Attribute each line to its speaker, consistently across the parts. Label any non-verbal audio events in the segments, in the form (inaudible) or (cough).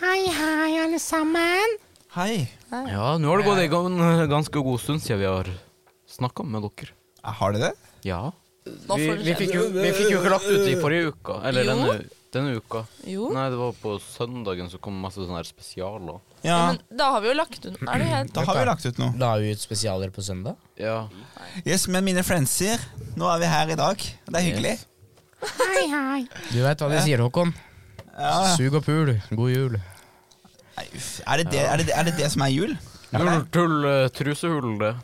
Speaker 1: Hei, hei, alle sammen.
Speaker 2: Hei.
Speaker 3: Ja, nå har det gått en gan- ganske god stund siden vi har snakka med dere.
Speaker 2: Har de det?
Speaker 3: Ja.
Speaker 4: Nå
Speaker 3: Vi,
Speaker 4: får
Speaker 3: vi,
Speaker 4: det
Speaker 3: fikk
Speaker 4: skje.
Speaker 3: jo, vi fikk jo ikke lagt ut i forrige uka. Eller
Speaker 4: Jo.
Speaker 3: denne, denne uka.
Speaker 4: Jo.
Speaker 3: Nei, det var på søndagen så kom masse sånne her spesialer.
Speaker 2: Ja,
Speaker 4: Men da har vi jo lagt ut Er det helt
Speaker 2: da har vi lagt ut noe.
Speaker 5: La vi ut spesialer på søndag?
Speaker 3: Ja.
Speaker 2: Yes, Men mine friendser, nå er vi her i dag. Det er hyggelig.
Speaker 1: Hei, hei.
Speaker 5: Du veit hva de sier, Håkon.
Speaker 2: Ja.
Speaker 5: Sug og pul. God jul.
Speaker 2: Nei, uff. Er, det det, er, det, er det det som er jul?
Speaker 3: Null tull eh, trusehull, det.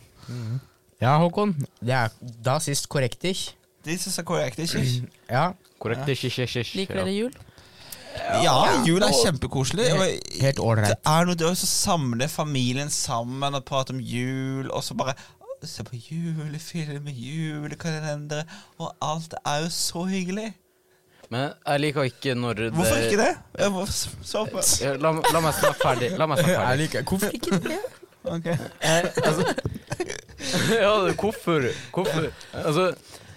Speaker 5: Ja, Håkon. Det er da sist korrekt ikke?
Speaker 2: Det synes jeg er korrekt, ikke?
Speaker 5: Ja.
Speaker 3: Korrekt. Ikke, ikke, ikke, ikke.
Speaker 4: Liker dere jul?
Speaker 2: Ja, jul er kjempekoselig. og
Speaker 5: Helt
Speaker 2: Det
Speaker 5: ålreit.
Speaker 2: er noe det å samle familien sammen og prate om jul, og så bare «Å, Se på julefilmer, julekalendere, og alt er jo så hyggelig.
Speaker 3: Ja. Men jeg liker ikke når det
Speaker 2: Hvorfor ikke det? Jeg må s- så på.
Speaker 3: Ja, La, la meg snakke ferdig. La meg
Speaker 2: (laughs)
Speaker 3: snakke ferdig.
Speaker 5: liker Hvorfor ikke det?
Speaker 2: Ok.
Speaker 3: Eh, altså, (laughs) ja, det- hvorfor? Hvorfor? Altså,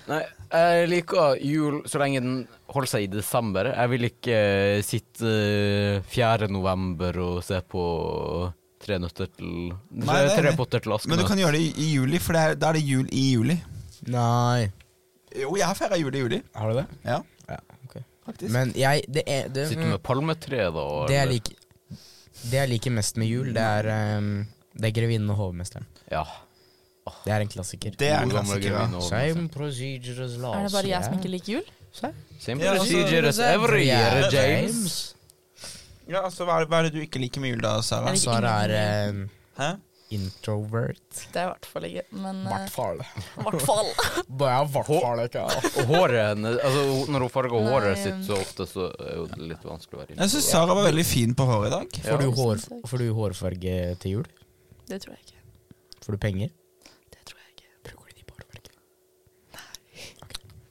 Speaker 3: nei, jeg liker jul så lenge den holder seg i desember. Jeg vil ikke eh, sitte eh, 4. november og se på Tre nøtter til Tre,
Speaker 2: Nei, det er
Speaker 3: tre
Speaker 2: enig.
Speaker 3: potter til
Speaker 2: Men du
Speaker 3: Askenøtt.
Speaker 2: kan gjøre det i- i juli, for det er, da er det jul i juli.
Speaker 5: Nei.
Speaker 2: Jo, jeg har feira jul i juli.
Speaker 5: Har du det?
Speaker 2: Ja,
Speaker 5: Ja, ok.
Speaker 2: faktisk.
Speaker 5: Men jeg Det er det,
Speaker 3: Sitte
Speaker 2: Mm.
Speaker 3: med palmetre, da.
Speaker 5: det jeg
Speaker 3: eller?
Speaker 5: liker Det jeg liker mest med jul, det er ehm, Det er 'Grevinnen og hovmesteren'.
Speaker 3: Ja.
Speaker 5: Det er en klassiker.
Speaker 2: det er en
Speaker 3: God gamle
Speaker 2: klassiker. ja.
Speaker 3: grevinne og-
Speaker 5: Same procedure as last
Speaker 4: Er det bare jeg som ikke liker jul?
Speaker 3: Same
Speaker 2: Ja, altså,
Speaker 3: procedure as every year, James.
Speaker 2: Ja, altså, hva er, det, hva er det du ikke liker med jul, da, Sara?
Speaker 4: Jeg liker
Speaker 5: Sara er ehm,
Speaker 2: Hæ?
Speaker 5: introvert.
Speaker 4: Det er i hvert fall ikke Men eh,
Speaker 5: Hvertfall.
Speaker 4: i hvert fall.
Speaker 5: Bare i hvert fall ikke. ja.
Speaker 3: Og håret hennes altså, ho- Når hun farger
Speaker 4: Nei,
Speaker 3: håret
Speaker 4: um.
Speaker 3: sitt så ofte, så er jo det litt vanskelig å være inne
Speaker 2: Jeg syns Sara var veldig fin på håret i dag.
Speaker 5: Får, du
Speaker 4: Ja.
Speaker 5: hår, får du hårfarge til jul?
Speaker 4: (laughs) Det tror jeg ikke.
Speaker 5: Får du penger?
Speaker 4: Det tror jeg ikke.
Speaker 5: Bruker du de på hårfarge?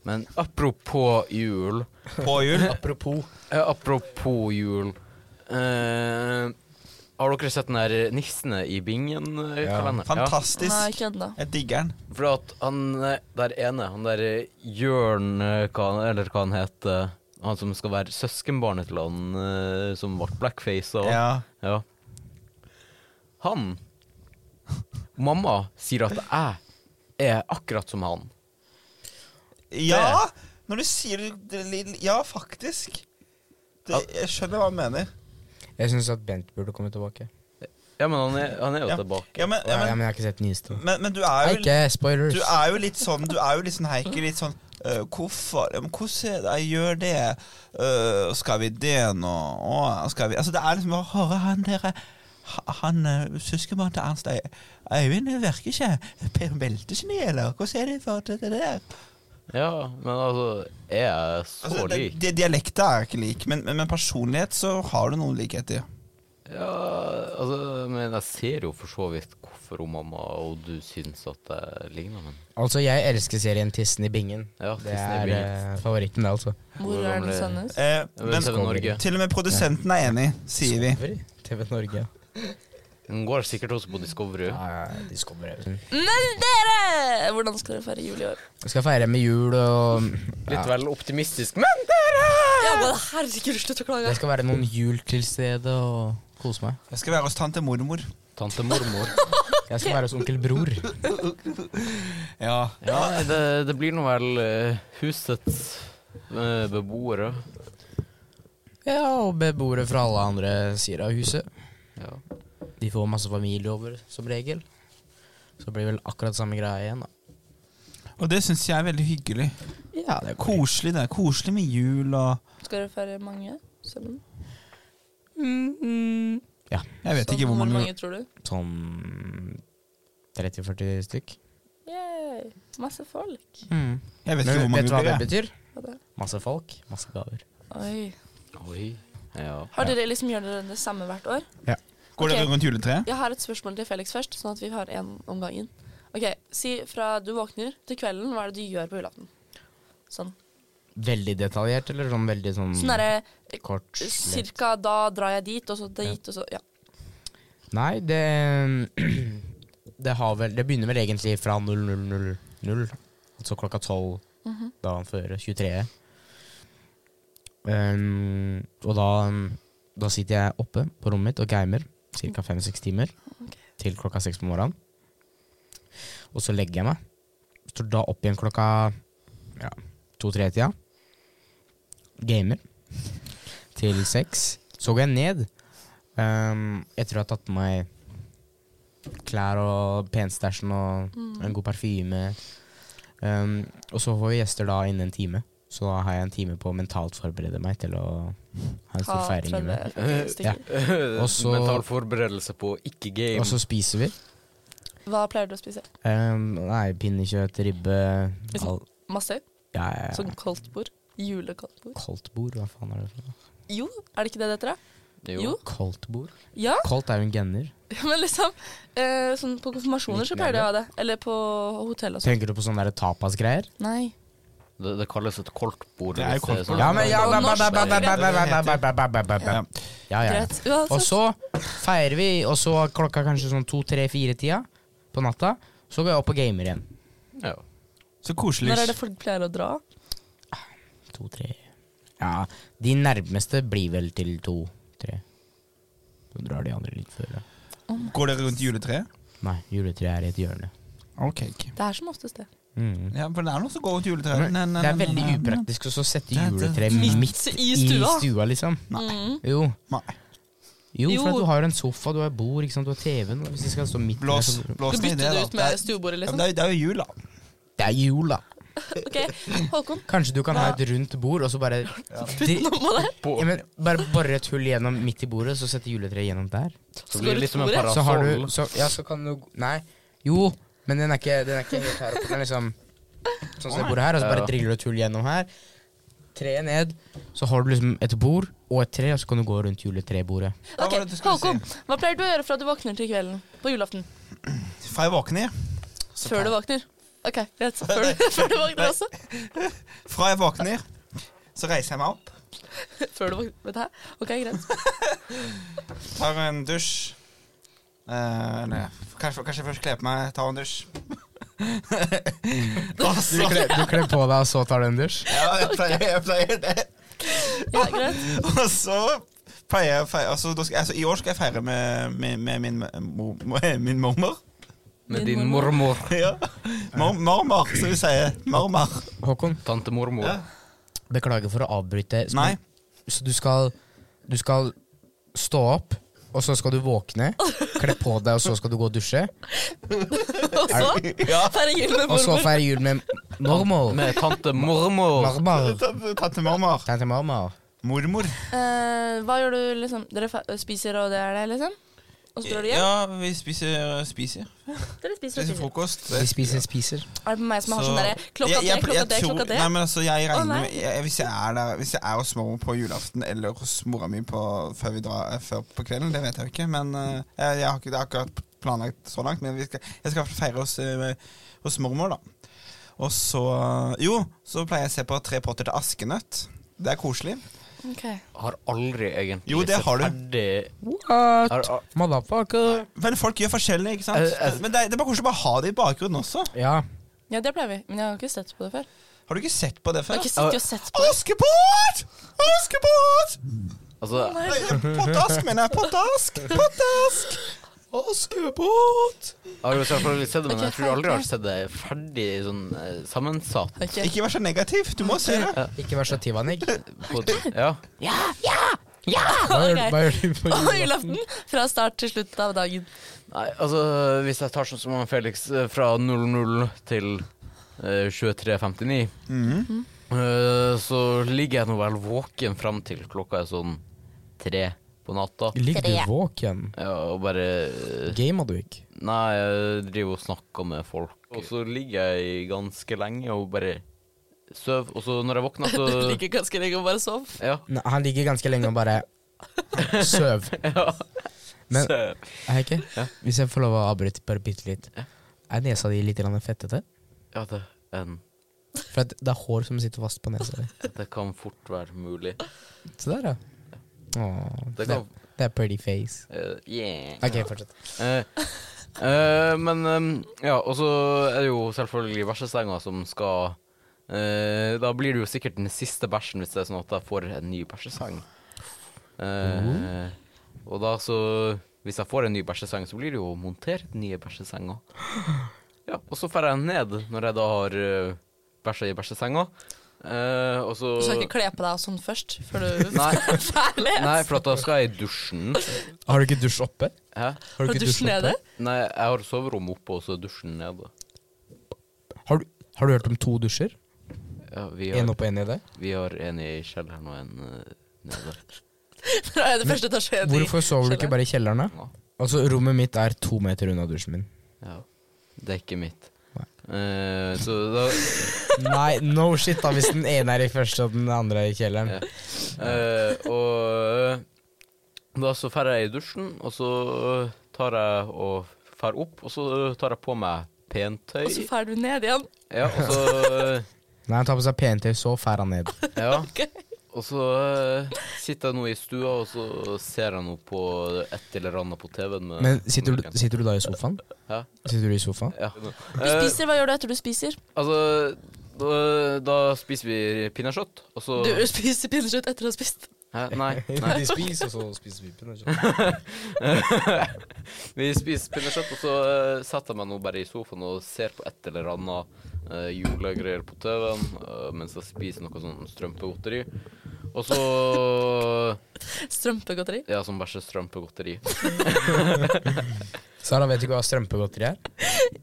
Speaker 3: Men apropos jul
Speaker 2: På jul.
Speaker 5: Apropos.
Speaker 3: eh, Apropos jul eh, Har dere sett den der nissene i Bingen-kalenderen?
Speaker 4: Nei,
Speaker 2: (laughs) Fantastisk.
Speaker 4: ikke ennå.
Speaker 2: Jeg digger den.
Speaker 3: For at han eh, der ene, han der eh, Jørn, eh, hva, han- eller hva han heter Han som skal være søskenbarnet til han eh, som ble blackface og
Speaker 2: Ja.
Speaker 3: Ja. Han Mamma sier at jeg er akkurat som han.
Speaker 2: Ja! Når du sier det litt- Ja, faktisk. Det, jeg skjønner hva han mener.
Speaker 5: Jeg syns at Bent burde komme tilbake.
Speaker 3: Ja, men han er, han er jo
Speaker 2: Ja.
Speaker 3: tilbake.
Speaker 2: Ja, men,
Speaker 5: Ja,
Speaker 2: ja,
Speaker 5: men
Speaker 2: men,
Speaker 5: jeg har ikke sett nyeste.
Speaker 2: men, men du er jo
Speaker 5: Ikke spoilers.
Speaker 2: Du er jo litt sånn, du er jo litt sånn Heike, litt sånn øh, Hvorfor? Ja, men hvordan er det jeg gjør det? Øh, skal vi det nå? Å, skal vi Altså, det er liksom bare Hører han dere ha- Han øh, søskenbarnet til Ernst Ei- Eivind det virker ikke. Per Beltesny, eller? Hvordan er det for det, det der?
Speaker 3: Ja, men altså Er jeg så
Speaker 2: Altså, det,
Speaker 3: lik?
Speaker 2: det, dialekten er ikke lik, men, men, men personlighet så har du noen likheter.
Speaker 3: Ja, altså Men jeg ser jo for så vidt hvorfor hun mamma og du syns at jeg ligner, men
Speaker 5: Altså, jeg elsker serien Tissen i bingen.
Speaker 3: Ja,
Speaker 5: Det
Speaker 3: Tissen i
Speaker 5: er
Speaker 3: bingen.
Speaker 5: eh, favoritten, det, altså.
Speaker 4: Hvor er den
Speaker 3: Gamle-
Speaker 4: sendes?
Speaker 2: Eh,
Speaker 3: Jeg vil
Speaker 2: men
Speaker 3: se på Norge.
Speaker 2: til og med produsenten er enig, sier vi.
Speaker 5: Discovery. TV Norge.
Speaker 3: Den går sikkert også på Discovery.
Speaker 5: Ja, de kommer
Speaker 4: Men dere! Hvordan skal dere feire jul i år?
Speaker 5: Skal feire med jul og
Speaker 3: Litt
Speaker 5: ja.
Speaker 3: vel optimistisk, men dere!
Speaker 4: Ja, men herregud, slutt å klage.
Speaker 5: Det skal være noen jul til stede og kose meg.
Speaker 2: Jeg skal være hos tante mormor.
Speaker 3: Tante mormor.
Speaker 5: Jeg skal være hos onkel Bror.
Speaker 2: Ja.
Speaker 3: Ja, nei, det, det blir nå vel eh, husets eh, beboere.
Speaker 5: Ja, og beboere fra alle andre sider av huset.
Speaker 3: Ja.
Speaker 5: De får masse familie over, som regel. Så blir det vel akkurat samme greia igjen, da.
Speaker 2: Og det syns jeg er veldig hyggelig.
Speaker 5: Ja, det
Speaker 2: Koselig, det. Koselig med jul og
Speaker 4: Skal dere feire mange? Sammen?
Speaker 2: Jeg vet ikke hvor
Speaker 4: Hvor
Speaker 2: mange
Speaker 4: mange tror du?
Speaker 5: Sånn 30-40 stykk.
Speaker 4: Yay. Masse folk.
Speaker 5: Mm.
Speaker 2: Jeg vet
Speaker 5: Men
Speaker 2: ikke hvor mange
Speaker 5: vet du hva
Speaker 2: det
Speaker 5: det
Speaker 2: blir. jeg.
Speaker 5: betyr?
Speaker 4: Hva da?
Speaker 5: Masse folk, masse gaver.
Speaker 4: Oi.
Speaker 3: Oi. Ja.
Speaker 4: Har dere liksom gjør dere det samme hvert år?
Speaker 2: Går dere
Speaker 4: Ok.
Speaker 2: rundt juletreet?
Speaker 4: Jeg har et spørsmål til Felix først, sånn at vi har én om gangen. Ok, Si fra du våkner til kvelden, hva er det du gjør på julaften? Sånn.
Speaker 5: Veldig detaljert, eller sånn veldig
Speaker 2: Mm.
Speaker 5: sånn eh,
Speaker 4: Sånn derre
Speaker 5: kort? lett?
Speaker 4: Cirka da drar jeg dit, og så dit, og så Ja.
Speaker 5: Nei, det (clears throat) Det har vel Det begynner vel egentlig fra 0000, altså klokka 12
Speaker 4: Mm-hmm.
Speaker 5: dagen før 23. Um, Ehm, og da um, Da sitter jeg oppe på rommet mitt og gamer ca. fem-seks timer
Speaker 4: Ok.
Speaker 5: til klokka seks på morgenen. Og så legger jeg meg. Står da opp igjen klokka ja, to-tre-tida. Gamer til seks. Så går jeg ned. Ehm, jeg tror jeg har tatt på meg klær og penstæsjen og en god parfyme. Ehm, og så får vi gjester da innen en time. Så da har jeg en time på å mentalt forberede meg til å ha en
Speaker 4: Ha
Speaker 5: stor feiring. hjemme.
Speaker 4: 30
Speaker 2: Eh,
Speaker 4: stykker.
Speaker 5: (laughs) Og så-
Speaker 3: Mental forberedelse på ikke game.
Speaker 5: Og så spiser vi.
Speaker 4: Hva pleier du å spise?
Speaker 5: Ehm, nei, pinnekjøtt, ribbe
Speaker 4: Liksom-
Speaker 5: all,
Speaker 4: Masse?
Speaker 5: ja, ja, ja.
Speaker 4: Sånn koldtbord? Julekoldtbord?
Speaker 5: Koldt bord, hva faen er det for noe?
Speaker 4: Jo, er det ikke det det heter, da? jo.
Speaker 5: Koldt bord?
Speaker 4: Ja,
Speaker 5: Koldt er jo en genner.
Speaker 4: (laughs) men liksom eh, sånn På konfirmasjoner så pleier de å ha det. Eller på hotell og sånn.
Speaker 5: Tenker du på sånne der tapasgreier?
Speaker 4: Nei.
Speaker 3: Det, det kalles et koltbord.
Speaker 2: Det er
Speaker 3: hvis
Speaker 2: koltbord.
Speaker 3: sånn-
Speaker 5: Ja, men ja,
Speaker 4: Og
Speaker 5: ba, ba,
Speaker 4: norsk,
Speaker 5: ba, ba,
Speaker 4: det
Speaker 5: ba, ba, ba, ba, ba, ba, ba, ba,
Speaker 2: Ja.
Speaker 5: ba. ja, ja. ja.
Speaker 4: Greit. Uansett.
Speaker 5: Og så feirer vi, og så klokka kanskje sånn to-tre-fire-tida på natta. Så går jeg opp og gamer igjen.
Speaker 3: Ja.
Speaker 2: Så koselig.
Speaker 4: Når er det folk pleier å dra?
Speaker 5: To-tre Ja, de nærmeste blir vel til to-tre. Så drar de andre litt før. da.
Speaker 2: Går dere rundt juletreet?
Speaker 5: Nei, juletreet er i et hjørne.
Speaker 2: Ok, ikke.
Speaker 4: Det er som oftest det.
Speaker 5: Mm.
Speaker 2: Ja, for det er noen som går rundt juletreet.
Speaker 5: Men
Speaker 2: Nei, nei,
Speaker 5: det er
Speaker 2: nei,
Speaker 5: veldig
Speaker 2: nei, nei.
Speaker 5: upraktisk å så sette
Speaker 2: Det- det-
Speaker 5: juletreet
Speaker 4: Midt
Speaker 5: midt
Speaker 4: i
Speaker 5: i
Speaker 4: stua.
Speaker 5: stua, liksom.
Speaker 4: Mm.
Speaker 5: Jo.
Speaker 2: Nei.
Speaker 5: Jo,
Speaker 4: Jo.
Speaker 5: for at du har jo en sofa, du har bord, ikke sant? du har TV-en. og Hvis det skal stå midt der,
Speaker 2: Blås,
Speaker 5: så-
Speaker 2: blås
Speaker 4: Du
Speaker 2: ned i
Speaker 4: bytter det
Speaker 2: da.
Speaker 4: ut med
Speaker 2: Det er-
Speaker 4: stuebordet,
Speaker 2: ja,
Speaker 4: liksom?
Speaker 2: Det er- det er jo jul, da.
Speaker 5: Det er jul, da.
Speaker 4: Ok,
Speaker 2: (laughs)
Speaker 4: Håkon.
Speaker 5: Kanskje du kan ha
Speaker 4: Hva-
Speaker 5: et rundt bord, og så bare
Speaker 4: Putt noe på det.
Speaker 3: På,
Speaker 5: (laughs) ja, men, Bare bore et hull gjennom midt i bordet, så setter juletreet gjennom der.
Speaker 3: så blir det litt som en
Speaker 4: Skåret
Speaker 5: Så har
Speaker 3: parasoll.
Speaker 5: du så, Ja, så kan du Nei. Jo, men den er ikke, den er ikke helt her oppe. Den er liksom sånn som det bordet her, og så bare
Speaker 3: Ja.
Speaker 5: driller du et hull gjennom her. Treet ned. Så har du liksom et bord og et tre, og så kan du gå rundt juletrebordet.
Speaker 2: Hva var det du skulle
Speaker 4: Ok, Håkon, hva pleier du å gjøre fra du våkner til kvelden på julaften?
Speaker 2: Fra jeg våkner så tar-
Speaker 4: Før du våkner? Ok, greit. så
Speaker 2: (laughs)
Speaker 4: Før du, før du våkner også?
Speaker 2: Fra jeg våkner, så reiser jeg meg opp,
Speaker 4: Før du våkner, vet du her? Ok, greit.
Speaker 2: tar en dusj eh, Eller kanskje, kanskje jeg først kler på meg, tar en dusj. Og
Speaker 5: Du
Speaker 2: så-
Speaker 5: kler, du kler på deg, og så tar du en dusj?
Speaker 2: Ja, jeg pleier, jeg pleier det.
Speaker 4: Ja,
Speaker 2: (laughs)
Speaker 4: greit.
Speaker 2: Og så pleier jeg å feire altså, da skal, altså, I år skal jeg feire med, med, med min, mo, (laughs) mo- min mormor.
Speaker 3: Med din mormor.
Speaker 2: Ja. Mor, mormor, som vi sier. Mormor.
Speaker 5: Håkon,
Speaker 3: Tante mormor.
Speaker 2: Ja.
Speaker 5: beklager for å avbryte. Så-
Speaker 2: Nei.
Speaker 5: Så du skal, du skal stå opp, og så skal du våkne, kle på deg, og så skal du gå og dusje.
Speaker 4: Og så (laughs)
Speaker 2: Ja.
Speaker 4: feirer jul med
Speaker 5: Og så
Speaker 4: mormor.
Speaker 5: feire jul med mormor.
Speaker 3: Med tante mormor.
Speaker 5: Marmor.
Speaker 2: Tante- Tante mormor.
Speaker 5: Tante marmor.
Speaker 2: Mormor.
Speaker 4: Eh, hva gjør du, liksom? Dere fe- spiser, og det er det, liksom? Og så drar du hjem?
Speaker 2: Ja, vi spiser, spiser.
Speaker 4: Dere spiser og
Speaker 2: Spiser
Speaker 4: spiser.
Speaker 2: frokost.
Speaker 5: De spiser spiser.
Speaker 4: Er det på meg som har
Speaker 2: Så-
Speaker 4: sånn derre klokka
Speaker 2: Jeg-
Speaker 4: tre,
Speaker 2: jeg-
Speaker 4: klokka
Speaker 2: jeg
Speaker 4: tre,
Speaker 2: tror-
Speaker 4: klokka
Speaker 2: Nei,
Speaker 4: tre?
Speaker 2: men altså, jeg regner
Speaker 4: Å, nei.
Speaker 2: med jeg, Hvis jeg er der Hvis jeg er hos mormor på julaften eller hos mora mi på, før, vi drar, eh, før på kvelden, det vet jeg jo ikke. Men eh, jeg, jeg har ikke det er akkurat planlagt så langt. Men vi skal, jeg skal i hvert fall feire hos, eh, hos mormor, da. Og så eh, Jo, så pleier jeg å se på Tre potter til askenøtt. Det er koselig.
Speaker 4: Ok.
Speaker 3: Har aldri egentlig
Speaker 2: Jo, det
Speaker 3: sett
Speaker 2: har du.
Speaker 3: ferdig
Speaker 5: What?
Speaker 3: har, har,
Speaker 5: Motherfucker.
Speaker 2: Men folk gjør forskjellig, ikke sant?
Speaker 3: Eh, eh.
Speaker 2: Men det er, det er bare koselig å bare ha det i bakgrunnen også.
Speaker 5: Ja.
Speaker 4: Ja, det pleier vi. Men jeg har ikke sett på det før.
Speaker 2: Har du ikke sett på det
Speaker 4: Jeg
Speaker 2: før?
Speaker 4: har ikke sittet og sett på det.
Speaker 2: Askepott! Askepott!
Speaker 3: Altså,
Speaker 4: Nei.
Speaker 2: Pottask, mener jeg. Pottask! Pottask! Askepott!
Speaker 3: jeg har jo selvfølgelig sett det, men
Speaker 4: Ok,
Speaker 3: jeg tror aldri jeg har
Speaker 4: ferdig.
Speaker 3: sett det ferdig sånn eh, sammensatt.
Speaker 4: Ok.
Speaker 2: Ikke vær så negativ. Du må se det.
Speaker 5: Ikke vær så tivanig.
Speaker 3: På, ja.
Speaker 5: Hva gjør
Speaker 4: Ok.
Speaker 5: hva gjør du på
Speaker 4: Og
Speaker 5: jul?
Speaker 4: julaften fra start til slutt av dagen.
Speaker 3: Nei, altså, hvis jeg tar sånn som han Felix eh, fra 00 til eh, 23.59,
Speaker 2: Mhm.
Speaker 3: eh, så ligger jeg nå vel våken fram til klokka er sånn tre på natta.
Speaker 5: Ligger du våken?
Speaker 3: Ja, og bare eh,
Speaker 5: Gamer du ikke?
Speaker 3: Nei, jeg driver og snakker med folk. Og så ligger jeg ganske lenge og bare sover. Og så når jeg våkner,
Speaker 4: (laughs) Du
Speaker 3: (laughs) så
Speaker 4: liker ganske lenge å bare sove.
Speaker 3: Ja.
Speaker 5: Nei, han ligger ganske lenge og bare søv.
Speaker 3: ja. (laughs)
Speaker 5: Men-
Speaker 3: så,
Speaker 5: Heike, hvis jeg får lov å avbryte bare bitte litt. Er nesa di litt grann fettete?
Speaker 3: ja, det, en,
Speaker 5: For at det er hår som sitter fast på nesa di.
Speaker 3: det kan fort være mulig.
Speaker 5: Se der, ja. Åh,
Speaker 3: Det
Speaker 5: det,
Speaker 3: kan-
Speaker 5: det er pretty face.
Speaker 3: Eh, yeah.
Speaker 5: Ok, fortsett.
Speaker 3: Eh, eh, men eh, ja, og så er det jo selvfølgelig bæsjestenga som skal eh, Da blir det jo sikkert den siste bæsjen hvis det er sånn at jeg får en ny bæsjeseng. Eh, og da så Hvis jeg får en ny bæsjeseng, så blir det jo montert nye bæsjesenger. Ja, og så får jeg den ned når jeg da har uh, bæsja i bæsjesenga. Eh, og så
Speaker 4: Du skal ikke kle på deg sånn først, før du
Speaker 3: Nei.
Speaker 4: er ferdig?
Speaker 3: Nei, for at da skal jeg i dusjen.
Speaker 5: Har du ikke dusj oppe?
Speaker 3: Hæ?
Speaker 5: Har
Speaker 4: Har du dusj
Speaker 5: oppe?
Speaker 4: nede?
Speaker 3: Nei, jeg har soverommet oppe, og så dusjen nede.
Speaker 5: Har du, har du hørt om to dusjer?
Speaker 3: Ja, vi
Speaker 5: Én
Speaker 3: har,
Speaker 5: oppe og én nede?
Speaker 3: vi har en i kjelleren og en eh, nede.
Speaker 4: Fra det første etasje ned i
Speaker 5: Hvorfor sover du ikke
Speaker 4: kjelleren.
Speaker 5: bare i kjelleren? da?
Speaker 3: Ja.
Speaker 5: Altså, rommet mitt er to meter unna dusjen min.
Speaker 3: Ja. Det er ikke mitt.
Speaker 5: Nei.
Speaker 3: Eh, så da
Speaker 5: Nei, no shit, da, hvis den ene er i første og den andre er i kjelleren.
Speaker 3: eh, Og eh, da så drar jeg i dusjen, og så tar jeg og drar opp, og så tar jeg på meg pentøy.
Speaker 4: Og så drar du ned igjen.
Speaker 3: Ja, og så
Speaker 5: Nei, han tar på seg PNT, så fær han ned.
Speaker 3: Ja.
Speaker 4: Ok.
Speaker 3: Og så eh, sitter jeg nå i stua, og så ser jeg nå på et eller annet på TV-en. med-
Speaker 5: Men sitter du, sitter du da i sofaen?
Speaker 3: Hæ?
Speaker 5: Sitter du i sofaen?
Speaker 3: Ja.
Speaker 4: Du
Speaker 3: Eh,
Speaker 4: spiser, hva gjør du etter du spiser?
Speaker 3: altså, da, da spiser vi pinnekjøtt, og så
Speaker 4: Du spiser pinnekjøtt etter å ha spist.
Speaker 3: Hæ? Nei. nei.
Speaker 5: spiser, og så spiser vi
Speaker 3: Vi spiser pinnekjøtt, og så eh, setter jeg meg nå bare i sofaen og ser på et eller annet eh, julegreier på TV-en eh, mens jeg spiser noe sånn strømpegodteri. Og så eh,
Speaker 4: Strømpegodteri.
Speaker 3: Ja, sånn bæsje strømpegodteri.
Speaker 5: Sara, vet du ikke hva strømpegodteri er?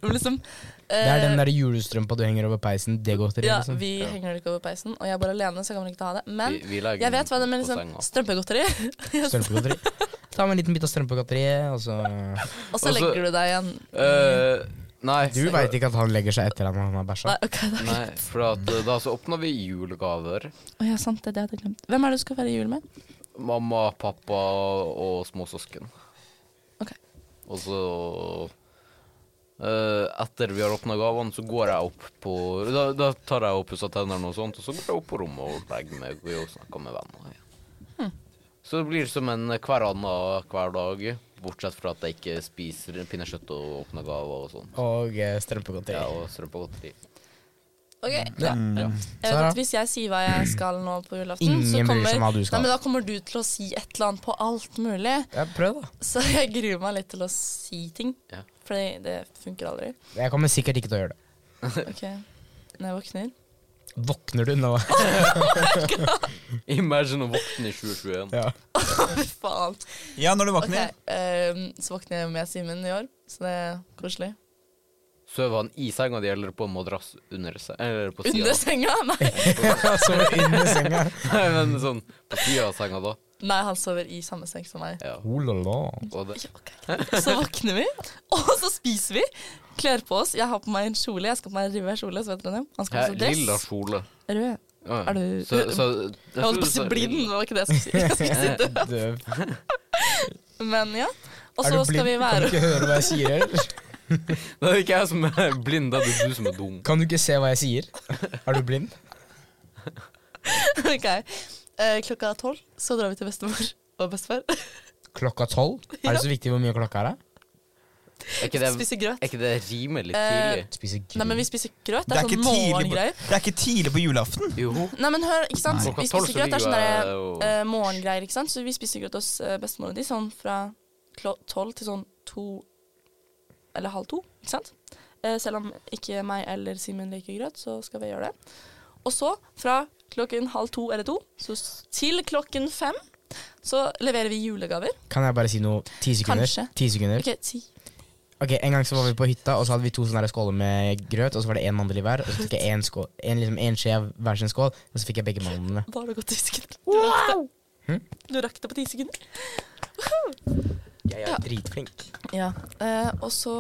Speaker 4: Men Liksom,
Speaker 5: Det er den
Speaker 4: eh,
Speaker 5: der julestrømpa du henger over peisen. Det godteriet.
Speaker 4: ja,
Speaker 5: liksom.
Speaker 4: vi henger det ikke over peisen, og jeg er bare alene, så jeg kan vel ikke ta det. Men
Speaker 3: Vi, vi legger
Speaker 4: jeg vet hva det er
Speaker 3: den
Speaker 4: med
Speaker 3: på
Speaker 4: liksom,
Speaker 3: senga.
Speaker 4: strømpegodteri. (laughs)
Speaker 5: Strømpegodteri. Ta med en liten bit av strømpegodteriet, og så
Speaker 4: (laughs) Og så
Speaker 3: Og så-
Speaker 4: legger du deg igjen.
Speaker 3: Eh, nei.
Speaker 5: Du veit ikke at han legger seg etter at han har bæsja?
Speaker 4: Nei, ok, da.
Speaker 3: Nei, for at, eh, da så åpna vi julegaver.
Speaker 4: Å ja, sant, det er det jeg hadde glemt. Hvem er det du skal feire jul med?
Speaker 3: Mamma, pappa og småsøsken.
Speaker 4: Ok.
Speaker 3: Og så eh, Etter vi har åpna gavene, så går jeg opp på Da, da tar jeg og pusser tennene og sånt, og så går jeg opp på rommet og legger meg og snakker med venner. igjen.
Speaker 4: Hm.
Speaker 3: Så det blir som en hver annen hver dag, bortsett fra at jeg ikke spiser pinnekjøtt og åpner gaver og sånn.
Speaker 5: Og eh, strømpegodteri.
Speaker 3: Ja, og strømpegodteri.
Speaker 4: Ok,
Speaker 5: Mm, Ja.
Speaker 3: Ja.
Speaker 4: jeg vet
Speaker 5: Sara?
Speaker 4: at Hvis jeg sier hva jeg skal nå på julaften, så
Speaker 5: Ingen bryr
Speaker 4: kommer,
Speaker 5: seg om hva du
Speaker 4: nei,
Speaker 5: skal.
Speaker 4: men da kommer du til å si et eller annet på alt mulig. (laughs)
Speaker 5: Ja, prøv, da.
Speaker 4: Så jeg gruer meg litt til å si ting,
Speaker 3: Ja.
Speaker 4: Fordi det funker
Speaker 3: (laughs)
Speaker 4: aldri.
Speaker 5: Jeg kommer sikkert ikke til å gjøre det.
Speaker 4: Ok, Når jeg våkner
Speaker 5: (laughs) Våkner du nå? (laughs)
Speaker 3: Imagine å våkne i 2021.
Speaker 5: ja.
Speaker 4: Fy faen.
Speaker 2: Ja, når du
Speaker 4: Ok,
Speaker 2: våkner.
Speaker 4: ehm, så våkner jeg med Simen i år, så det er koselig.
Speaker 3: Sover han i senga di eller på en madrass under seg? Eller på sida?
Speaker 4: Under senga?
Speaker 5: (laughs)
Speaker 4: Nei.
Speaker 5: så under senga.
Speaker 3: Nei, men sånn på sida av senga da.
Speaker 4: Nei, han sover i samme seng som meg.
Speaker 3: Ja.
Speaker 5: Oh, la, la.
Speaker 3: Og det,
Speaker 4: Ja, ok. Så våkner vi, (laughs) og så spiser vi. Kler på oss. Jeg har på meg en kjole. Jeg skal på meg en rød kjole. Så vet dere altså, det. Han skal
Speaker 3: Hæ,
Speaker 4: på seg
Speaker 3: lilla
Speaker 4: dress.
Speaker 3: kjole.
Speaker 4: Rød.
Speaker 3: Ja.
Speaker 4: Er du-
Speaker 3: så, så,
Speaker 4: Jeg holdt på å si blind, men det var ikke det jeg skulle si. Jeg skulle si død.
Speaker 5: Døv.
Speaker 4: Men ja. Og
Speaker 5: Er du
Speaker 4: så skal vi
Speaker 5: blind? Kan du
Speaker 4: være
Speaker 5: ikke høre hva jeg sier? eller?
Speaker 3: Det er ikke jeg som er blind, det er du som er dum.
Speaker 5: (laughs) Kan du ikke se hva jeg sier? Er du blind?
Speaker 4: (laughs) Ok. Eh, Klokka tolv så drar vi til bestemor og bestefar.
Speaker 5: Klokka tolv? Er det så viktig hvor mye klokka er? da?
Speaker 3: Er ikke det,
Speaker 4: (laughs) Spiser grøt.
Speaker 3: er ikke det rimelig
Speaker 4: Eh,
Speaker 3: tidlig?
Speaker 5: Spiser
Speaker 4: Nei, men
Speaker 5: grill.
Speaker 4: vi spiser grøt.
Speaker 2: Det
Speaker 4: Det
Speaker 2: er,
Speaker 4: er,
Speaker 2: ikke
Speaker 4: sånn
Speaker 2: tidlig på,
Speaker 4: morgengreier.
Speaker 2: det er ikke tidlig på julaften.
Speaker 3: Jo.
Speaker 4: Nei, men hør, ikke sant.
Speaker 3: Klokka
Speaker 4: Vi
Speaker 3: tolv
Speaker 4: spiser
Speaker 3: så
Speaker 4: grøt. Det er sånn
Speaker 3: ligger
Speaker 4: derre
Speaker 3: jeg og-
Speaker 4: eh, morgengreier, ikke sant. Så vi spiser grøt hos eh, bestemor og de sånn fra klo- tolv til sånn to eller halv to, ikke sant. Eh, selv om ikke meg eller Simen liker grøt, så skal vi gjøre det. Og så fra klokken halv to eller to så s- til klokken fem så leverer vi julegaver.
Speaker 5: Kan jeg bare si noe? Ti sekunder?
Speaker 4: Kanskje.
Speaker 5: Ti sekunder.
Speaker 4: OK, ti.
Speaker 5: Ok, En gang så var vi på hytta, og så hadde vi to sånne der skåler med grøt. Og så var det én mandel i hver, og så fikk jeg én skål, en, liksom, en skje av hver sin skål. Og så fikk jeg begge mandlene.
Speaker 4: Da har du gått ti sekunder. Du rakk det.
Speaker 5: Hm?
Speaker 4: Du rakk det på ti sekunder.
Speaker 5: Jeg er dritflink.
Speaker 4: Ja, eh, og så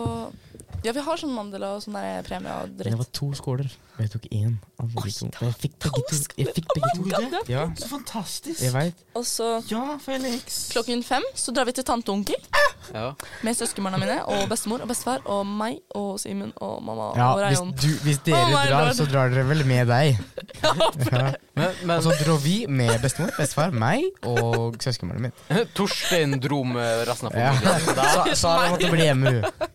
Speaker 4: Ja, vi har sånn mandela og sånn der premie og
Speaker 5: Men det
Speaker 4: dritt.
Speaker 5: var to skåler, og jeg tok én av begge to. Og jeg fikk begge to. Jeg fikk
Speaker 4: Oh my
Speaker 5: begge
Speaker 4: God,
Speaker 5: to. Ja,
Speaker 2: Så fantastisk.
Speaker 5: jeg vet.
Speaker 4: Og så
Speaker 2: Ja, Felix.
Speaker 4: klokken fem så drar vi til tante og onkel
Speaker 3: Ja.
Speaker 4: med søskenbarna mine og bestemor og bestefar og meg og Simen og mamma
Speaker 5: Ja,
Speaker 4: og
Speaker 5: hvis,
Speaker 4: Rayon.
Speaker 5: du, hvis dere
Speaker 4: Oh my
Speaker 5: drar,
Speaker 4: God.
Speaker 5: så drar dere vel med (laughs) deg.
Speaker 4: (laughs)
Speaker 5: Ja.
Speaker 3: Men,
Speaker 5: Og
Speaker 3: men
Speaker 5: så dro vi med bestemor, bestefar, meg og søskenbarnet mitt.
Speaker 3: (laughs) Torstein dro med resten av
Speaker 5: Ja.
Speaker 3: familien.
Speaker 4: Ah,
Speaker 5: Sa- Sara måtte bli hjemme, hun.
Speaker 3: (laughs)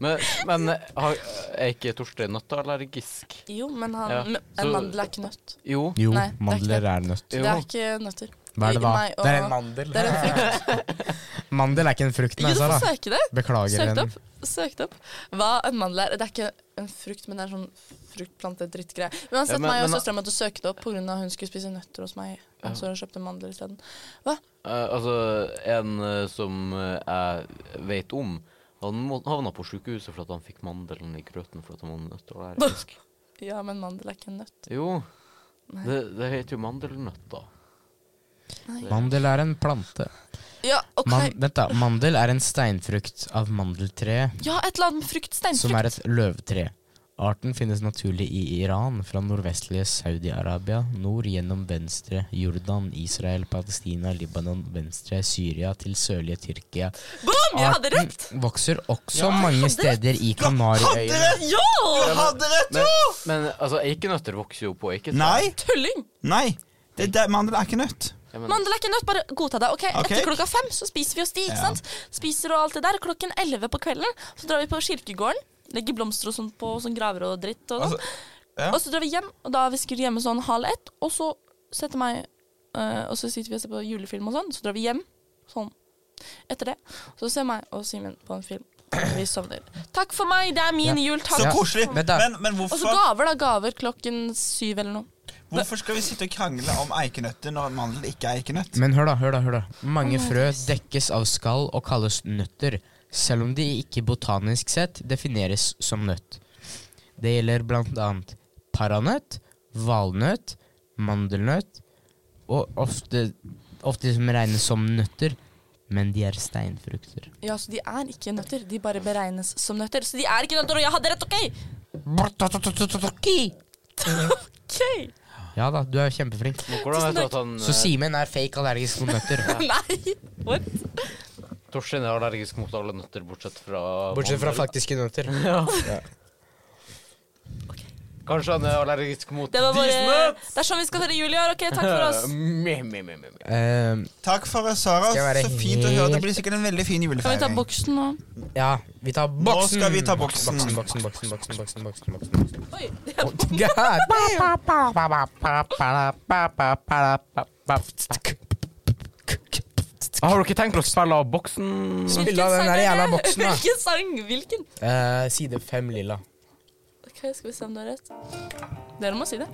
Speaker 3: Men, men har, er ikke Torstein nøtteallergisk?
Speaker 4: Jo, men han,
Speaker 3: Ja,
Speaker 4: men
Speaker 3: så-
Speaker 4: en mandel er ikke nøtt.
Speaker 3: Jo.
Speaker 5: Jo,
Speaker 4: Nei, det er ikke
Speaker 5: mandler er nødt.
Speaker 4: Det
Speaker 3: Jo.
Speaker 4: er ikke nøtter.
Speaker 5: Hva er det da?
Speaker 4: Meg og-
Speaker 5: det er en mandel.
Speaker 4: Det er en frukt.
Speaker 5: (laughs) mandel er ikke en frukt,
Speaker 4: Ikke
Speaker 5: men
Speaker 4: du får
Speaker 5: Sara.
Speaker 4: søke det.
Speaker 5: Beklager.
Speaker 4: Søkt
Speaker 5: venn.
Speaker 4: opp. Søkt opp. Hva en mandel er. Det er ikke en frukt, men det er en sånn fruktplante-drittgreie. Uansett,
Speaker 3: Ja, men-
Speaker 4: meg og
Speaker 3: men-
Speaker 4: søstera mi måtte søke det opp pga. hun skulle spise nøtter hos meg.
Speaker 3: Ja.
Speaker 4: Og så kjøpte mandler isteden.
Speaker 3: Eh, altså, en eh, som eh, jeg vet om, han må- havna på sjukehuset fordi han fikk mandelen i grøten fordi han var nødt til å
Speaker 4: (laughs)
Speaker 3: være frisk.
Speaker 4: Ja, men mandel er ikke en nøtt.
Speaker 3: Jo,
Speaker 4: Nei.
Speaker 3: det, det heter jo mandelnøtt, da.
Speaker 5: Mandel er en plante.
Speaker 4: Ja, ok.
Speaker 5: Man, vent da, Mandel er en steinfrukt av mandeltreet,
Speaker 4: ja, et eller annet med frukt.
Speaker 5: som
Speaker 4: Steinfrukt.
Speaker 5: er et løvtre. Arten finnes naturlig i Iran, fra nordvestlige Saudi-Arabia, nord gjennom venstre Jordan, Israel, Palestina, Libanon, venstre Syria til sørlige Tyrkia.
Speaker 4: Boom! Jeg hadde
Speaker 5: Arten
Speaker 4: rett!
Speaker 5: Mm, vokser også
Speaker 3: Ja, jeg
Speaker 5: mange
Speaker 4: hadde
Speaker 5: steder i
Speaker 2: Hadde
Speaker 5: Kanariøyene.
Speaker 2: rett!
Speaker 4: Ja!
Speaker 2: Du hadde rett, jo!
Speaker 3: Men, men altså, eikenøtter vokser jo på eiketre.
Speaker 2: Nei,
Speaker 4: Tulling!
Speaker 2: nei. Det er der, mandel er ikke nøtt.
Speaker 3: Ja, men-
Speaker 4: Mandel er ikke en nøtt, bare godta det. ok?
Speaker 2: Ok.
Speaker 4: Etter klokka fem så spiser vi oss de, ikke
Speaker 2: Ja.
Speaker 4: sant? Spiser og alt det der. Klokken elleve på kvelden så drar vi på kirkegården. Legger blomster og sånn på sånn graver og dritt. og sånn.
Speaker 2: Altså, ja.
Speaker 4: Og så drar vi hjem, og da vi skulle hjemme sånn halv ett, og så setter meg eh, Og så sitter vi og ser på julefilm og sånn, så drar vi hjem sånn etter det. Så ser meg og Simen på en film. Vi sovner. Takk for meg, det er min jul. Takk.
Speaker 2: Så
Speaker 5: Ja.
Speaker 2: koselig.
Speaker 5: Vent da.
Speaker 2: Men, men
Speaker 4: Og
Speaker 2: hvorfor,
Speaker 4: så gaver, da. Gaver klokken syv eller noe.
Speaker 2: hvorfor skal vi sitte og krangle om eikenøtter når mandel ikke er eikenøtt?
Speaker 5: Men hør da, hør da, hør da. Mange frø dekkes av skall og kalles nøtter, selv om de ikke botanisk sett defineres som nøtt. Det gjelder blant annet paranøtt, valnøtt, mandelnøtt, og ofte, ofte som regnes som nøtter, men de er steinfrukter.
Speaker 4: Ja, så de er ikke nøtter. De bare beregnes som nøtter. Så de er ikke nøtter, og jeg hadde rett, OK? OK!
Speaker 5: Ja da, du er kjempeflink.
Speaker 3: Men eh, Hvordan vet du at han
Speaker 5: Så Simen er fake allergisk mot nøtter.
Speaker 4: (laughs) Nei! What?
Speaker 3: eh, Torstein er allergisk mot alle nøtter, bortsett fra mandel?
Speaker 5: faktiske nøtter.
Speaker 3: Ja. Kanskje han er allergisk mot
Speaker 4: Det var bare
Speaker 3: disnøtt?
Speaker 4: Det er sånn vi skal feire jul i år. OK, takk for
Speaker 5: (laughs)
Speaker 4: oss.
Speaker 3: Me, me, me, me, me.
Speaker 5: Eh,
Speaker 2: Takk for det, Sara.
Speaker 5: Skal jeg være
Speaker 2: Så fint å høre. Det
Speaker 5: helt-
Speaker 2: blir sikkert en veldig fin
Speaker 4: Kan vi ta
Speaker 2: julefeiring.
Speaker 4: boksen nå?
Speaker 5: ja, vi tar boksen.
Speaker 2: skal
Speaker 5: (laughs)
Speaker 2: vi ta boksen.
Speaker 5: Boksen, boksen, boksen, boksen, boksen, boksen, boksen.
Speaker 4: Oi, det
Speaker 5: Oh, God.
Speaker 1: Ba, ba.
Speaker 3: Har du ikke tenkt å spille av boksen?
Speaker 5: Spill av den der jævla boksen, da.
Speaker 4: (laughs) Hvilken sang? Hvilken?
Speaker 5: Eh, side fem lilla.
Speaker 4: Ok, Skal vi se om du har rett. Dere må si det.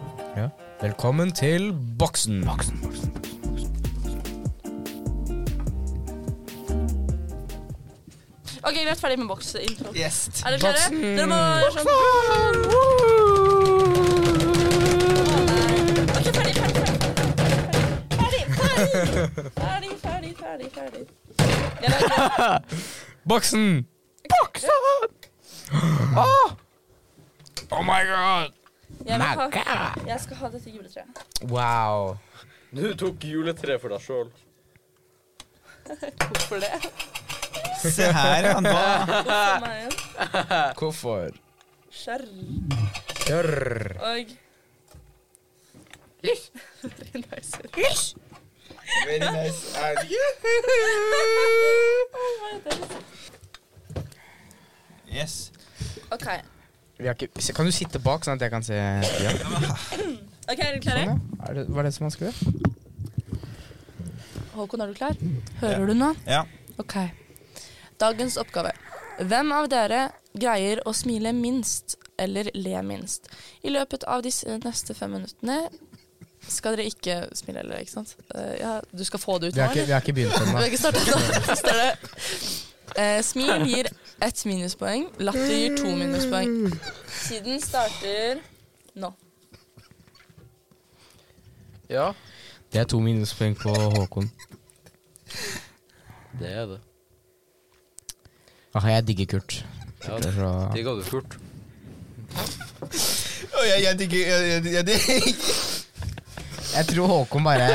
Speaker 5: Velkommen til boksen.
Speaker 4: Ok, Vi er ferdig med boksintro.
Speaker 2: Yes.
Speaker 4: Er dere klare? Dere må sånn Ok, ferdig, ferdig, ferdig. Ferdig, ferdig. Ferdig, ferdig, ferdig. ferdig. Jeg lager-
Speaker 5: Boksen! Ah!
Speaker 3: Ah! Oh
Speaker 4: Jeg, vil ha, jeg skal ha dette juletreet.
Speaker 5: Wow.
Speaker 3: Du tok juletre for deg sjøl.
Speaker 4: Hvorfor (laughs) det?
Speaker 2: Se her, ja. Da.
Speaker 4: For meg igjen.
Speaker 5: Hvorfor?
Speaker 4: Skjerm
Speaker 5: Kjør.
Speaker 4: og
Speaker 3: Lys.
Speaker 4: Veldig nice.
Speaker 2: Very nice.
Speaker 4: (laughs)
Speaker 2: Yes.
Speaker 4: OK,
Speaker 5: Vi har ikke, se, kan du sitte bak, sånn at jeg kan se ja.
Speaker 4: Ok, er dere
Speaker 5: Sånn,
Speaker 4: klare?
Speaker 5: ja. Er det, var det så vanskelig?
Speaker 4: Håkon, er du klar? Hører du nå?
Speaker 2: Ja.
Speaker 4: Ok. Dagens oppgave. Hvem av dere greier å smile minst eller le minst? I løpet av disse neste fem minuttene skal dere ikke smile eller ikke sant? Eh, ja, du skal få det ut
Speaker 5: Vi
Speaker 4: nå,
Speaker 5: har ikke,
Speaker 4: eller?
Speaker 5: vi har ikke begynt
Speaker 4: Vi har
Speaker 5: ennå.
Speaker 4: ikke startet nå. Så står det eh, Smil gir ett minuspoeng, latter gir to minuspoeng. Tiden starter nå.
Speaker 3: Ja,
Speaker 5: (laughs) Det er to minuspoeng på Håkon.
Speaker 3: det er det.
Speaker 5: Ah, jeg digger Kurt.
Speaker 3: Ja,
Speaker 5: Det er så-
Speaker 3: Digga du furt?
Speaker 2: jeg, digger
Speaker 5: Jeg tror Håkon bare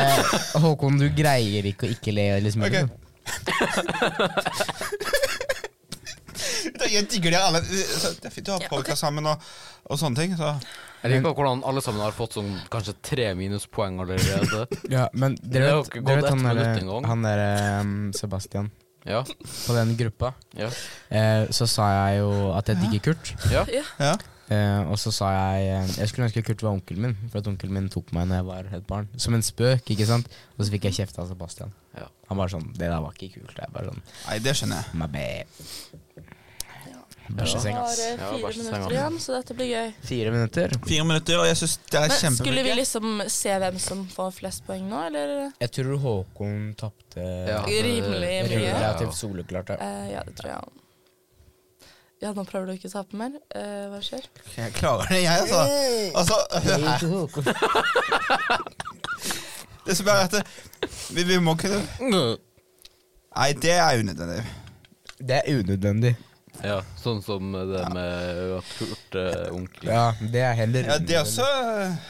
Speaker 5: Håkon, du greier ikke å ikke le liksom. eller smile.
Speaker 2: Ok. Jeg digger dere alle. Det er fint å ha
Speaker 4: Ja, ok.
Speaker 2: podkast sammen og, og sånne ting. Så.
Speaker 3: Jeg liker hvordan alle sammen har fått sånn kanskje tre minuspoeng
Speaker 5: (laughs)
Speaker 3: allerede.
Speaker 5: Ja, men
Speaker 3: Det
Speaker 5: dere
Speaker 3: har
Speaker 5: vet,
Speaker 3: ikke gått
Speaker 5: dere vet
Speaker 3: ett
Speaker 5: han
Speaker 3: minutt
Speaker 5: derre
Speaker 3: engang.
Speaker 5: han der, ehm, Sebastian
Speaker 3: Ja,
Speaker 5: på den gruppa.
Speaker 3: ja,
Speaker 5: Eh, så sa jeg jo at jeg digger Kurt.
Speaker 3: ja.
Speaker 4: Ja.
Speaker 2: Ja.
Speaker 5: Eh, og så sa jeg eh, Jeg skulle ønske Kurt var onkelen min, for at onkelen min tok meg når jeg var et barn. Som en spøk, ikke sant? Og så fikk jeg kjeft av Sebastian.
Speaker 3: Ja.
Speaker 5: Han var sånn Det der var ikke kult. Jeg bare sånn
Speaker 2: Nei, det skjønner jeg.
Speaker 5: my bad.
Speaker 4: Vi
Speaker 5: Bæsjeseng,
Speaker 4: har
Speaker 5: ass.
Speaker 4: eh,
Speaker 3: Ja,
Speaker 4: fire
Speaker 3: bæsjeseng,
Speaker 4: minutter
Speaker 3: ass.
Speaker 4: igjen, så dette blir gøy.
Speaker 5: Fire minutter.
Speaker 2: Fire minutter, og jeg syns det er
Speaker 4: Men skulle vi
Speaker 2: kjempebra.
Speaker 4: liksom se hvem som får flest poeng nå, eller?
Speaker 5: Jeg tror Håkon tapte
Speaker 3: Ja,
Speaker 5: eh,
Speaker 3: det-
Speaker 4: Rimelig mye.
Speaker 5: relativt soleklart. ja.
Speaker 4: Eh, ja, det tror jeg. han- Ja, nå prøver du ikke å tape mer. Eh, hva skjer?
Speaker 2: Jeg klarer det, jeg, altså. altså
Speaker 5: Hei, Håkon.
Speaker 2: det som er at det, vi, vi må kunne Nei, det er unødvendig.
Speaker 5: Det er unødvendig.
Speaker 3: Ja, sånn som det med at Kurt er onkel.
Speaker 5: Ja, det er heller
Speaker 2: Ja, det er også eh,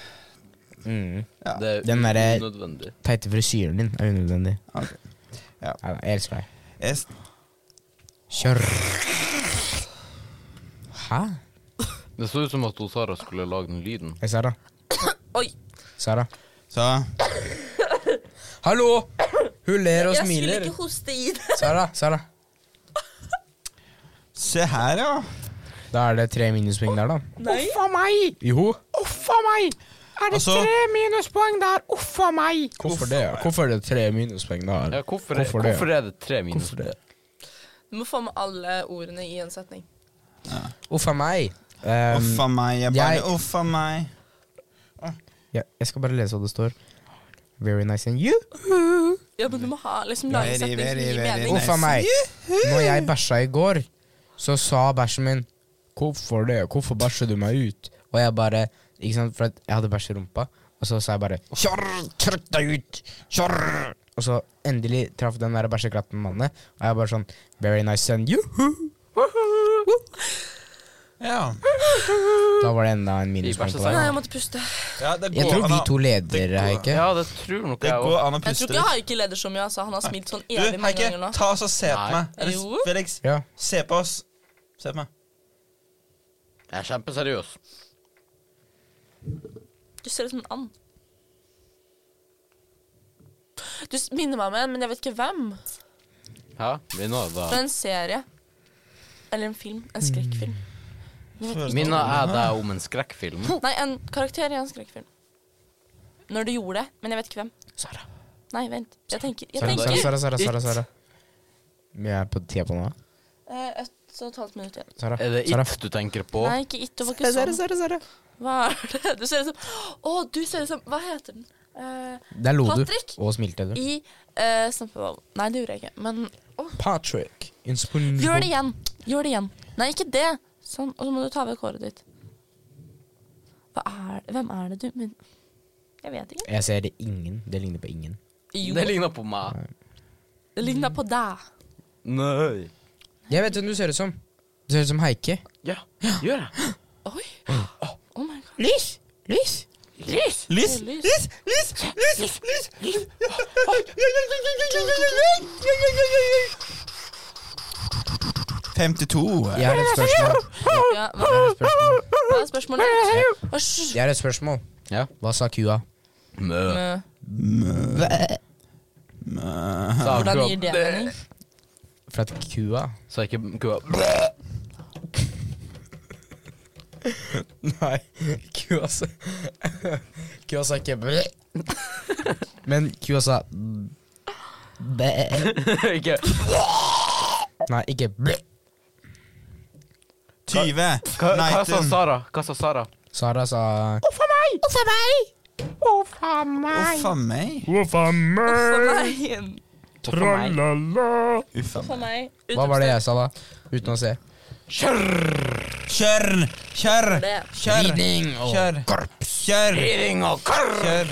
Speaker 5: Mm.
Speaker 2: ja.
Speaker 3: Det er
Speaker 5: Den derre-
Speaker 3: unødvendig.
Speaker 5: Teite frisyren din er unødvendig.
Speaker 2: Ok. Ja.
Speaker 5: Neida, jeg elsker deg.
Speaker 2: Jeg,
Speaker 5: Kjør. Hæ?
Speaker 3: Det så ut som at hun Sara skulle lage den lyden.
Speaker 5: Hei, Sara.
Speaker 4: Oi!
Speaker 5: Sara.
Speaker 2: så
Speaker 5: Hallo! Hun ler og
Speaker 4: Jeg skulle
Speaker 5: smiler.
Speaker 4: ikke hoste i det.
Speaker 5: Sara, Sara.
Speaker 2: Se her, ja.
Speaker 5: Da er det tre minuspoeng der, da.
Speaker 4: Nei.
Speaker 1: Uff a meg!
Speaker 5: Jo.
Speaker 1: Uff a meg! Er det
Speaker 2: Altså-
Speaker 1: tre minuspoeng der? Uff a meg!
Speaker 5: Hvorfor det? Hvorfor er det tre minuspoeng der?
Speaker 3: Ja, hvorfor, er-
Speaker 5: Hvorfor det?
Speaker 3: hvorfor er det tre minus?
Speaker 5: Hvorfor det?
Speaker 4: Du må få med alle ordene i en setning.
Speaker 5: Uff a meg. Um,
Speaker 2: Uff a meg. Jeg bare
Speaker 5: jeg-
Speaker 2: Uff a meg.
Speaker 5: ja, jeg skal bare lese hva det står. Very nice and you.
Speaker 4: Ja, men du må ha, liksom lage
Speaker 2: Very,
Speaker 4: en setning som
Speaker 2: very,
Speaker 4: gir
Speaker 2: very
Speaker 4: mening.
Speaker 5: Uff a meg. Når jeg bæsja i går, så sa bæsjen min Hvorfor det? Hvorfor bæsjer du meg ut? Og jeg bare Ikke sant, for at jeg hadde bæsj i rumpa, og så sa jeg bare Kjør! Trykk deg ut! Kjør! Og så endelig traff den der bæsjeklatten mannen, og jeg bare sånn Very nice and you.
Speaker 2: Ja.
Speaker 5: Da var det enda en
Speaker 3: I
Speaker 5: minuspoeng på
Speaker 3: bæsjesengen.
Speaker 4: Nei,
Speaker 5: deg.
Speaker 4: jeg måtte puste.
Speaker 2: ja det går
Speaker 5: Jeg tror
Speaker 2: an
Speaker 5: vi
Speaker 2: å-
Speaker 5: to leder,
Speaker 2: går-
Speaker 5: Heike.
Speaker 3: Ja, det tror nok
Speaker 2: Det
Speaker 3: jeg
Speaker 2: går
Speaker 3: òg.
Speaker 2: an å
Speaker 4: Jeg tror
Speaker 2: puste
Speaker 4: ikke Haike leder så mye, altså. Han har smilt sånn evig
Speaker 2: Du,
Speaker 4: mange
Speaker 2: Heike,
Speaker 4: ganger nå.
Speaker 2: ta oss og se på
Speaker 3: Nei.
Speaker 2: meg. Eller
Speaker 4: Jo.
Speaker 2: Felix,
Speaker 5: Ja.
Speaker 2: se på oss. Se på meg.
Speaker 3: Jeg er kjempeseriøs.
Speaker 4: Du ser ut som en and. Du s- minner meg om en, men jeg vet ikke hvem.
Speaker 3: Hæ? Minna er
Speaker 4: Fra
Speaker 3: da-
Speaker 4: en serie. Eller en film. En skrekkfilm.
Speaker 3: Minna er deg om en skrekkfilm.
Speaker 4: Nei, en karakter i en skrekkfilm. Når du gjorde det, men jeg vet ikke hvem.
Speaker 5: Sara.
Speaker 4: Nei, vent. Jeg tenker. Jeg
Speaker 5: Sara, Sara,
Speaker 4: tenker.
Speaker 5: Sara, Sara, Sara, Sara. Vi er på tida på nå.
Speaker 4: Eh, Ett og et halvt minutt igjen.
Speaker 5: Sara.
Speaker 3: Er det
Speaker 5: Sara.
Speaker 3: It du tenker på?
Speaker 4: Nei, ikke It. Det var ikke sånn. Hva er det? Du ser ut som Å, du ser ut som Hva heter den? Eh,
Speaker 5: Der lo du
Speaker 4: Patrick?
Speaker 5: og smilte. du.
Speaker 4: I uh, Snappeball. Nei, det gjorde jeg ikke. Men
Speaker 5: Patrick. In SpongeBob.
Speaker 4: gjør det igjen. Gjør det igjen. Nei, ikke det. Sånn. Og så må du ta vekk håret ditt. Hva er det? Hvem er det du men, Jeg vet ikke.
Speaker 5: Jeg ser det ingen. Det ligner på ingen.
Speaker 4: Jo,
Speaker 3: Det ligner på meg.
Speaker 4: det ligner på deg.
Speaker 3: Nei.
Speaker 5: Jeg vet hvem du ser ut som. Du ser ut som Heikki.
Speaker 3: Ja, gjør jeg.
Speaker 4: Oi. Oh my god.
Speaker 5: Lys! Lys!
Speaker 4: Lys!
Speaker 2: Lys!
Speaker 4: Det er lys.
Speaker 2: Lys! Lys! Lys! Lys! Lys! Lys! 52.
Speaker 5: Jeg har et spørsmål.
Speaker 4: Ja, hva-
Speaker 5: Jeg har et spørsmål.
Speaker 4: hva er spørsmålet? Hysj.
Speaker 5: Jeg har et spørsmål.
Speaker 3: Ja.
Speaker 5: Hva sa kua?
Speaker 3: Mø.
Speaker 4: Eh,
Speaker 3: Sa
Speaker 4: Hvordan
Speaker 3: kua-
Speaker 4: gir det mening?
Speaker 5: For at kua
Speaker 3: Sa ikke kua (laughs)
Speaker 5: Nei, kua sa Kua sa ikke bæ. Men kua sa bæ.
Speaker 3: Ikke (laughs)
Speaker 5: Nei, ikke bæ.
Speaker 2: 20.
Speaker 3: Hva, hva sa
Speaker 2: 19.
Speaker 3: Sara? Hva sa Sara?
Speaker 5: Sara sa
Speaker 1: Uff a meg! Uff a meg! Uff a meg!
Speaker 2: Uff a meg.
Speaker 5: Uff a
Speaker 4: For meg.
Speaker 5: meg, tralala.
Speaker 2: Uff a
Speaker 4: For
Speaker 2: meg.
Speaker 4: meg.
Speaker 5: Hva var det jeg sa da? Uten å se.
Speaker 2: Kjør! Kjør!
Speaker 4: Det.
Speaker 2: Kjør!
Speaker 5: Riding og
Speaker 2: Kjør! Kjør! Kjør!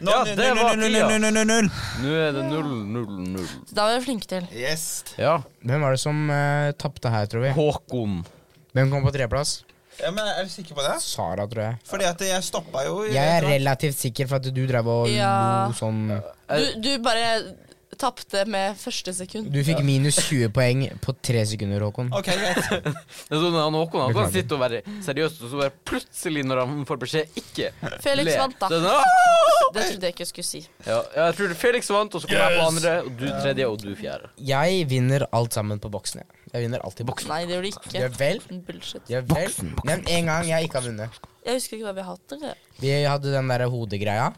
Speaker 2: Nå,
Speaker 3: Ja,
Speaker 2: null,
Speaker 3: det
Speaker 2: null,
Speaker 3: var
Speaker 2: null,
Speaker 3: tida.
Speaker 2: null, null, null, null.
Speaker 3: Nå er det null, null, null.
Speaker 4: Da var vi flinke til.
Speaker 2: Yes.
Speaker 3: Ja.
Speaker 5: Hvem var det som uh, tapte her, tror vi?
Speaker 3: Håkon.
Speaker 5: Hvem kom på tredjeplass?
Speaker 2: Ja, men er du sikker på det?
Speaker 5: Sara, tror jeg.
Speaker 2: Fordi at jeg stoppa jo i-
Speaker 5: Jeg er relativt sikker for at du drev og
Speaker 4: Ja.
Speaker 5: lo sånn
Speaker 4: Du, du bare Tapte med første sekund.
Speaker 5: Du fikk minus 20 poeng på tre sekunder, Håkon.
Speaker 2: Ok, greit.
Speaker 3: Det er sånn han Håkon han kan
Speaker 5: Beklager.
Speaker 3: sitte og være seriøs, og så bare plutselig, når han får beskjed, ikke
Speaker 4: Felix
Speaker 3: le.
Speaker 4: vant, da.
Speaker 3: Så er det sånn, «Åh!»
Speaker 4: Det trodde jeg ikke jeg skulle si.
Speaker 3: ja, ja, jeg tror Felix vant, og så kommer jeg på andre, og du tredje, og du fjerde.
Speaker 5: Jeg vinner alt sammen på boksen. Jeg, jeg vinner alltid boksen.
Speaker 4: Nei, det gjorde
Speaker 5: Ja
Speaker 4: du ikke.
Speaker 5: vel.
Speaker 4: Bullshit.
Speaker 5: Ja vel. Nevn en gang jeg ikke har vunnet.
Speaker 4: Jeg husker ikke hva vi har hatt. dere.
Speaker 5: Vi hadde den der hodegreia.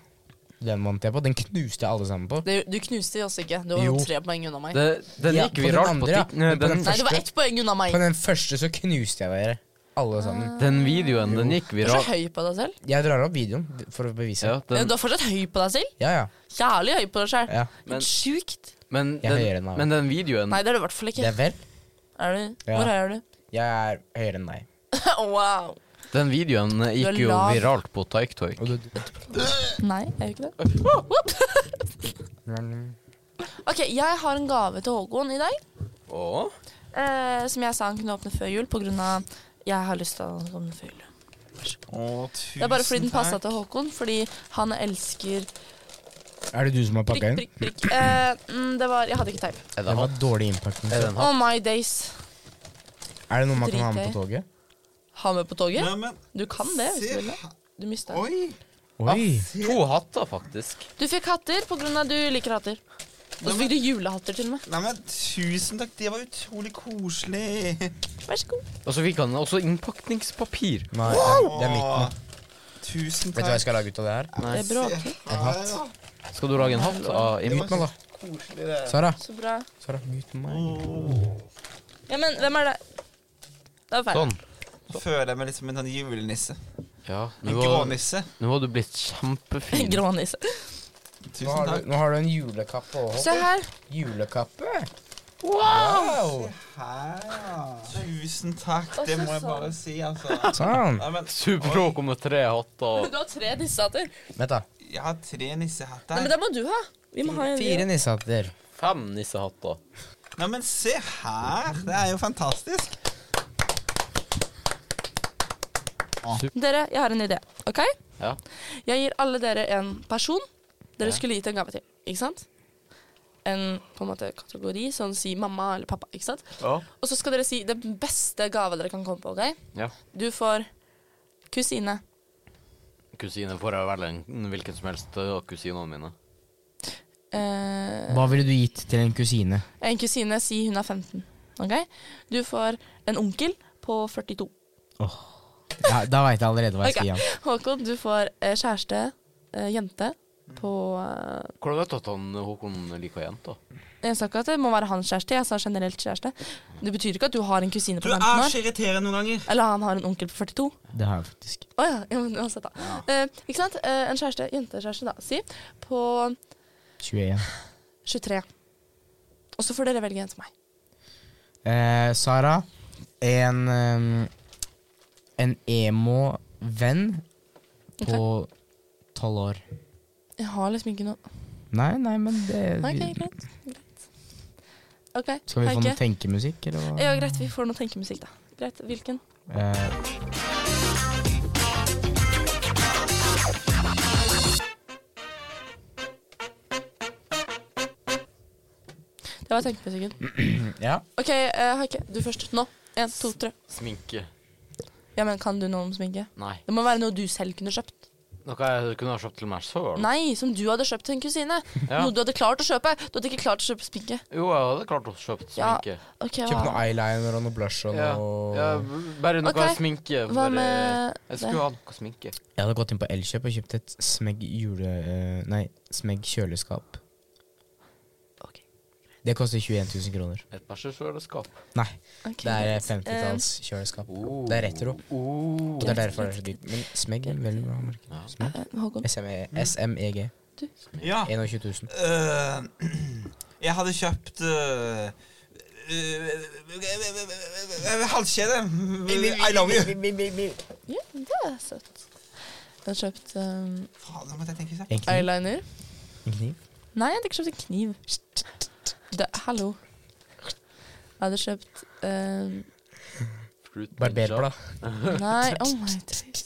Speaker 5: Den vant jeg på. Den knuste jeg alle sammen på.
Speaker 4: Det, du knuste oss ikke. Du var
Speaker 5: Jo.
Speaker 4: jo tre poeng unna meg.
Speaker 3: Det, den
Speaker 5: Ja,
Speaker 3: gikk
Speaker 5: på den
Speaker 3: viralt
Speaker 5: andre,
Speaker 3: på
Speaker 5: ja.
Speaker 3: TikTok. Nei,
Speaker 5: Men på
Speaker 3: Den,
Speaker 5: den
Speaker 4: Nei, det var ett poeng unna meg.
Speaker 5: På den første så knuste jeg dere. Alle sammen.
Speaker 3: den videoen, den gikk
Speaker 4: Du er så
Speaker 3: viralt.
Speaker 4: høy på deg selv.
Speaker 5: Jeg drar opp videoen for å bevise.
Speaker 3: Ja,
Speaker 4: Ja,
Speaker 3: den,
Speaker 4: Du er fortsatt høy på deg selv.
Speaker 5: Ja, ja.
Speaker 4: Jævlig høy på deg selv.
Speaker 5: ja.
Speaker 3: Men- Mm.
Speaker 4: Sjukt.
Speaker 3: men,
Speaker 5: Jeg hører
Speaker 3: den,
Speaker 5: den av.
Speaker 3: men den videoen
Speaker 4: Nei, det er du i hvert fall ikke.
Speaker 5: Ja vel.
Speaker 4: Er du?
Speaker 5: Ja.
Speaker 4: Hvor høy er du? (laughs)
Speaker 5: Jeg er høyere enn deg.
Speaker 4: wow.
Speaker 3: Den videoen eh,
Speaker 4: Du er
Speaker 3: gikk jo
Speaker 4: lav.
Speaker 3: viralt på TikTok.
Speaker 5: Og du
Speaker 4: Nei, jeg er jo ikke det. Ok, jeg har en gave til Håkon i dag.
Speaker 3: Åh?
Speaker 4: Eh, som jeg sa han kunne åpne før jul, på grunn av jeg har lyst til å åpne den før jul.
Speaker 2: Å, tusen
Speaker 4: Det er bare fordi den passa
Speaker 2: takk.
Speaker 4: til Håkon, fordi han elsker
Speaker 5: Er det du som har
Speaker 4: prikk,
Speaker 5: pakka inn?
Speaker 4: prikk, prikk. Eh, mm, det var Jeg hadde ikke teip.
Speaker 3: Er
Speaker 5: Det
Speaker 3: det
Speaker 5: var
Speaker 3: han?
Speaker 5: dårlig innpakning.
Speaker 3: Er det en
Speaker 4: Oh my days.
Speaker 5: Er det noe man kan ha med
Speaker 4: Dritgøy.
Speaker 5: på toget?
Speaker 4: Ha med på toget?
Speaker 2: Nei, men,
Speaker 4: Du kan det.
Speaker 2: se
Speaker 4: hvis Du vil det.
Speaker 2: her.
Speaker 4: Du mista den.
Speaker 2: Oi.
Speaker 5: Oi.
Speaker 3: To hatter, faktisk.
Speaker 4: Du fikk hatter på grunn av at du liker hatter. Og så fikk du julehatter til og med.
Speaker 2: Nei, men tusen takk. Det var utrolig koselig.
Speaker 4: Vær så god.
Speaker 3: Og så fikk han Altså, også innpakningspapir.
Speaker 5: Nei, det er- det er mitt nå.
Speaker 2: Åh, Tusen
Speaker 5: Vet du hva jeg
Speaker 2: takk.
Speaker 5: skal lage ut av det her?
Speaker 4: Det er bra. ok.
Speaker 2: En hatt.
Speaker 3: Skal du lage en hatt av
Speaker 2: Det
Speaker 3: innpakning?
Speaker 2: var
Speaker 5: Mitt nå,
Speaker 2: så
Speaker 5: da.
Speaker 2: koselig, det.
Speaker 5: Sara.
Speaker 4: Så bra.
Speaker 5: Sara, gutt meg.
Speaker 4: Ja, men hvem er det? Det var feil.
Speaker 3: Sånn.
Speaker 2: Føler jeg meg litt som en sånn julenisse.
Speaker 3: Ja, nå
Speaker 2: En
Speaker 3: var,
Speaker 2: grånisse.
Speaker 3: nå var du blitt kjempefin.
Speaker 4: (laughs) Grå nisse.
Speaker 2: Tusen
Speaker 5: Nå har
Speaker 2: takk.
Speaker 5: du, nå har du en julekappe. Håkon.
Speaker 4: Se her.
Speaker 5: Julekappe? Wow!
Speaker 2: Her. Tusen takk.
Speaker 4: Og
Speaker 2: Det
Speaker 4: så
Speaker 2: må jeg
Speaker 4: sa
Speaker 2: bare si, altså.
Speaker 5: Sånn.
Speaker 2: Nei, men,
Speaker 3: Superhåk med tre hatter.
Speaker 4: Du har tre nissehatter.
Speaker 5: Vent, da.
Speaker 2: jeg har tre
Speaker 4: Nei,
Speaker 2: nissehatter.
Speaker 4: men det må du ha. Vi må ha en
Speaker 5: Fire nissehatter.
Speaker 3: Fem nissehatter.
Speaker 2: Nei, men se her! Det er jo fantastisk.
Speaker 4: Dere, jeg har en idé. Ok?
Speaker 3: Ja.
Speaker 4: Jeg gir alle dere en person dere skulle gitt en gave til. Ikke sant? En på en måte kategori som sier mamma eller pappa. Ikke sant?
Speaker 3: Ja.
Speaker 4: Og så skal dere si den beste gave dere kan komme på. ok?
Speaker 3: ja.
Speaker 4: Du får kusine.
Speaker 3: Kusine får jeg velge en hvilken som helst av kusinene mine.
Speaker 4: Eh,
Speaker 5: Hva ville du gitt til en kusine?
Speaker 4: en kusine, si hun er 15. Ok? Du får en onkel på 42.
Speaker 5: Ja, da veit jeg allerede hva jeg skal gi han.
Speaker 4: (laughs) Håkon, du får eh, kjæreste, eh, jente, på eh,
Speaker 3: Hvordan vet du at han Håkon liker jenter?
Speaker 4: Jeg sa ikke at det må være hans kjæreste, jeg sa generelt kjæreste. Det betyr ikke at du har en kusine på 15 år.
Speaker 2: irriterende noen ganger.
Speaker 4: Eller han har en onkel på 42. Å
Speaker 5: Det har jeg faktisk.
Speaker 4: ja, ja, men uansett, da. Eh, ikke sant? Eh, en kjæreste, jentekjæreste, da, si, på
Speaker 5: 21.
Speaker 4: 23. Og så får dere velge en til meg.
Speaker 5: Eh, Sara, en ehm, En emo-venn på tolv år.
Speaker 4: Jeg har liksom ikke noe
Speaker 5: Nei, nei, men det
Speaker 4: OK, greit. greit. OK,
Speaker 5: Skal vi få noe
Speaker 4: Heike.
Speaker 5: tenkemusikk, eller hva?
Speaker 4: Ja, greit, vi får noe tenkemusikk, da. Greit, Hvilken?
Speaker 5: Eh,
Speaker 4: Det var tenkemusikken.
Speaker 5: ja.
Speaker 4: OK, eh, Heike, du først. Nå. En, to, tre.
Speaker 3: Sminke.
Speaker 4: Ja, men Kan du noe om sminke?
Speaker 3: Nei.
Speaker 4: Det må være noe du selv kunne kjøpt.
Speaker 3: Noe jeg kunne ha kjøpt til meg sjøl.
Speaker 4: Nei, som du hadde kjøpt til en kusine.
Speaker 3: Ja.
Speaker 4: Noe du hadde klart å kjøpe. Du hadde ikke klart å kjøpe sminke.
Speaker 3: Jo, jeg hadde klart å kjøpt
Speaker 4: Ja.
Speaker 3: sminke.
Speaker 4: Ok,
Speaker 5: Kjøp noe
Speaker 4: hva,
Speaker 5: eyeliner og noe blush og
Speaker 3: Ja.
Speaker 5: noe
Speaker 3: Ja, bare noe
Speaker 4: Ok.
Speaker 3: sminke.
Speaker 4: hva
Speaker 3: bare-
Speaker 4: med
Speaker 3: Jeg
Speaker 4: det?
Speaker 3: skulle ha noe sminke.
Speaker 5: Jeg hadde gått inn på Elkjøp og kjøpt et smegg jule... eh, Nei, smegg kjøleskap.
Speaker 4: Ok.
Speaker 5: Det koster 21 000 kroner.
Speaker 3: Et bæsjeskjøleskap.
Speaker 5: Nei,
Speaker 4: Ok,
Speaker 5: det er
Speaker 4: greit.
Speaker 5: 50-talls
Speaker 4: Eh.
Speaker 5: kjøleskap. Det er retro.
Speaker 3: Oh.
Speaker 5: Og det er derfor det er så dyrt. Men smegg er veldig bra merke.
Speaker 3: Ja.
Speaker 5: Smegg.
Speaker 4: Eh, Håkon.
Speaker 5: SME, SMEG.
Speaker 2: Ja.
Speaker 5: 21 000.
Speaker 2: øh, (clears throat) jeg hadde kjøpt øh, øh, Halskjede. I love you.
Speaker 4: Ja, det er søtt. Jeg har kjøpt um,
Speaker 2: Faen, nå måtte jeg tenke seg.
Speaker 5: En kniv.
Speaker 4: eyeliner.
Speaker 5: En kniv.
Speaker 4: Nei, jeg hadde ikke kjøpt en kniv. Det, hallo. Jeg hadde kjøpt um,
Speaker 3: Fruit Ninja.
Speaker 5: Barberblad.
Speaker 4: Nei, oh my days.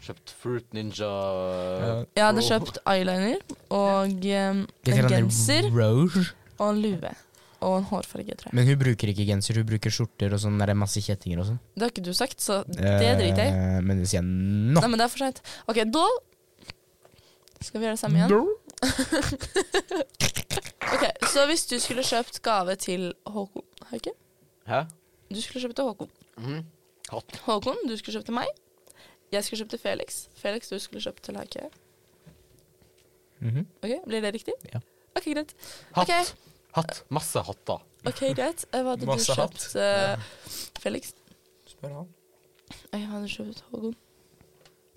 Speaker 3: Kjøpt Fruit Ninja eh,
Speaker 4: Jeg hadde kjøpt eyeliner og em,
Speaker 5: Litt
Speaker 4: en
Speaker 5: grann
Speaker 4: genser
Speaker 5: Rouge.
Speaker 4: og en lue. Og en hårfarge, tror jeg.
Speaker 5: Men hun bruker ikke genser, hun bruker skjorter og sånn der masse kjettinger og sånn.
Speaker 4: Det har ikke du sagt, så det driter jeg i.
Speaker 5: Eh, Men det sier jeg nå.
Speaker 4: Nei, men det er for seint. OK, da skal vi gjøre det samme igjen. (laughs) Ok, Så hvis du skulle kjøpt gave til Håkon Hauke
Speaker 3: Hæ?
Speaker 4: Du skulle kjøpt til Håkon.
Speaker 3: Mhm. Hatt.
Speaker 4: Håkon, du skulle kjøpt til meg. Jeg skulle kjøpt til Felix. Felix, du skulle kjøpt til Hauke.
Speaker 5: Mhm.
Speaker 4: Ok, Blir det riktig?
Speaker 5: Ja.
Speaker 4: OK, greit.
Speaker 3: Hatt.
Speaker 4: Ok.
Speaker 3: Hatt. Masse hatter.
Speaker 4: Ok, greit. Eh, Hva hadde du
Speaker 2: Masse hatt.
Speaker 4: kjøpt, eh, Felix?
Speaker 2: Spør han.
Speaker 4: Jeg hadde kjøpt Håkon.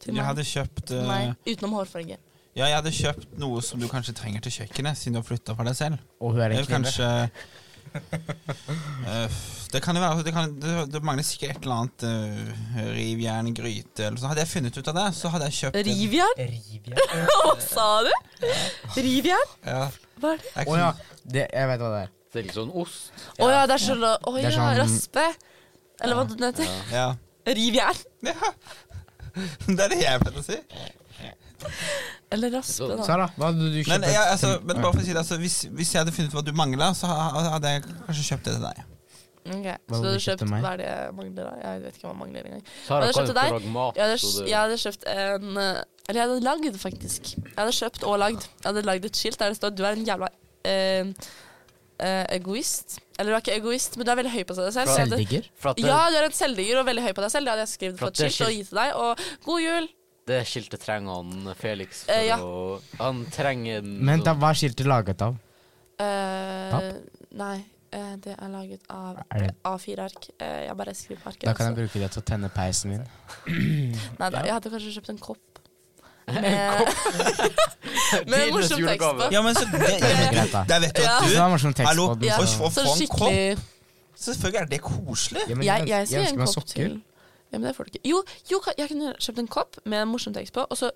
Speaker 4: Til
Speaker 2: Jeg
Speaker 4: meg.
Speaker 2: hadde kjøpt
Speaker 4: Til
Speaker 2: eh,
Speaker 4: meg. Utenom hårfarge.
Speaker 2: Ja, jeg hadde kjøpt noe som du kanskje trenger til kjøkkenet, siden du har flytta for deg selv.
Speaker 5: Og hun er
Speaker 2: Det
Speaker 5: en
Speaker 2: er
Speaker 5: kvinne.
Speaker 2: kanskje Eh, Det kan jo være det, kan, det, det mangler sikkert et eller annet eh, rivjern, gryte eller sånn. Hadde jeg funnet ut av det, så hadde jeg kjøpt
Speaker 4: Rivjern? (laughs) Hva sa du? Rivjern?
Speaker 2: Ja.
Speaker 4: Hva er det?
Speaker 2: Jeg
Speaker 5: Å ja, det, jeg vet hva det er.
Speaker 3: Ser ut som en sånn ost.
Speaker 4: Å ja, det er så la- Å
Speaker 5: Det er
Speaker 4: ja,
Speaker 5: sånn-
Speaker 4: raspe. Eller hva den heter.
Speaker 2: Ja. (laughs)
Speaker 4: Rivjern.
Speaker 2: ja. Det er det jeg pleide å si.
Speaker 4: Eller raspe, da.
Speaker 5: Sara, hva hadde du kjøpt?
Speaker 2: Men, jeg, altså,
Speaker 5: til-
Speaker 2: men bare for å si det, altså, hvis, hvis jeg hadde funnet ut hva du mangla, så ha- hadde jeg kanskje kjøpt det til deg.
Speaker 4: Ok,
Speaker 5: Hva
Speaker 4: Så du
Speaker 5: hadde
Speaker 4: hadde
Speaker 5: du kjøpt
Speaker 4: kjøpt
Speaker 5: til meg?
Speaker 4: Hva er det jeg mangler, da? Jeg vet ikke hva jeg mangler engang.
Speaker 3: Sara
Speaker 4: Men
Speaker 3: kan
Speaker 4: det
Speaker 3: jo
Speaker 4: skjønte
Speaker 3: ikke
Speaker 4: deg.
Speaker 3: lage mat.
Speaker 4: Jeg hadde,
Speaker 3: så det-
Speaker 4: jeg hadde kjøpt en eh, Eller jeg hadde lagd, faktisk. Jeg hadde kjøpt og lagd. Jeg hadde lagd et skilt der det står 'Du er en jævla eh, eh, egoist'. Eller du er ikke egoist, men du er veldig høy på deg selv. så jeg hadde-
Speaker 5: Selvdigger?
Speaker 3: For at det,
Speaker 4: Ja, du er en selvdigger og veldig høy på deg selv. Det hadde jeg skrevet på
Speaker 3: Flott,
Speaker 4: et
Speaker 3: det er
Speaker 4: skilt og
Speaker 3: skilt.
Speaker 4: gitt til deg. Og 'god jul'.
Speaker 3: det skiltet trenger han Felix for
Speaker 4: Eh, ja.
Speaker 3: å Han trenger en-
Speaker 5: Men
Speaker 3: (laughs)
Speaker 5: da, hva er skiltet laget av?
Speaker 4: Eh,
Speaker 5: Papp?
Speaker 4: nei, eh, det er laget av
Speaker 5: Er det-
Speaker 4: A4-ark. Eh, jeg bare skriver på arket.
Speaker 5: Da kan
Speaker 4: så-
Speaker 5: jeg bruke det til å tenne peisen min.
Speaker 4: Nei, da, jeg hadde kanskje kjøpt en
Speaker 5: (laughs)
Speaker 4: kopp. Eh, Med, med
Speaker 3: Tidenes
Speaker 4: morsom tekst
Speaker 3: julegave.
Speaker 4: på.
Speaker 2: Ja, (laughs) men så det,
Speaker 5: Det er greit, da.
Speaker 2: Der vet du
Speaker 4: Ja.
Speaker 2: at
Speaker 5: Så det
Speaker 2: du
Speaker 5: var morsom tekst
Speaker 2: Hallo,
Speaker 5: på den.
Speaker 4: Ah. Ja.
Speaker 2: og- og
Speaker 4: Så
Speaker 2: få en kopp.
Speaker 4: skikkelig
Speaker 2: Selvfølgelig er det koselig.
Speaker 5: Ja, men
Speaker 4: Jeg, jeg sier
Speaker 5: ønsker
Speaker 4: en
Speaker 5: meg
Speaker 4: kopp til. Ja, men det får du ikke. Jo, jo, ka- jeg kunne kjøpt en kopp med morsom tekst på, og så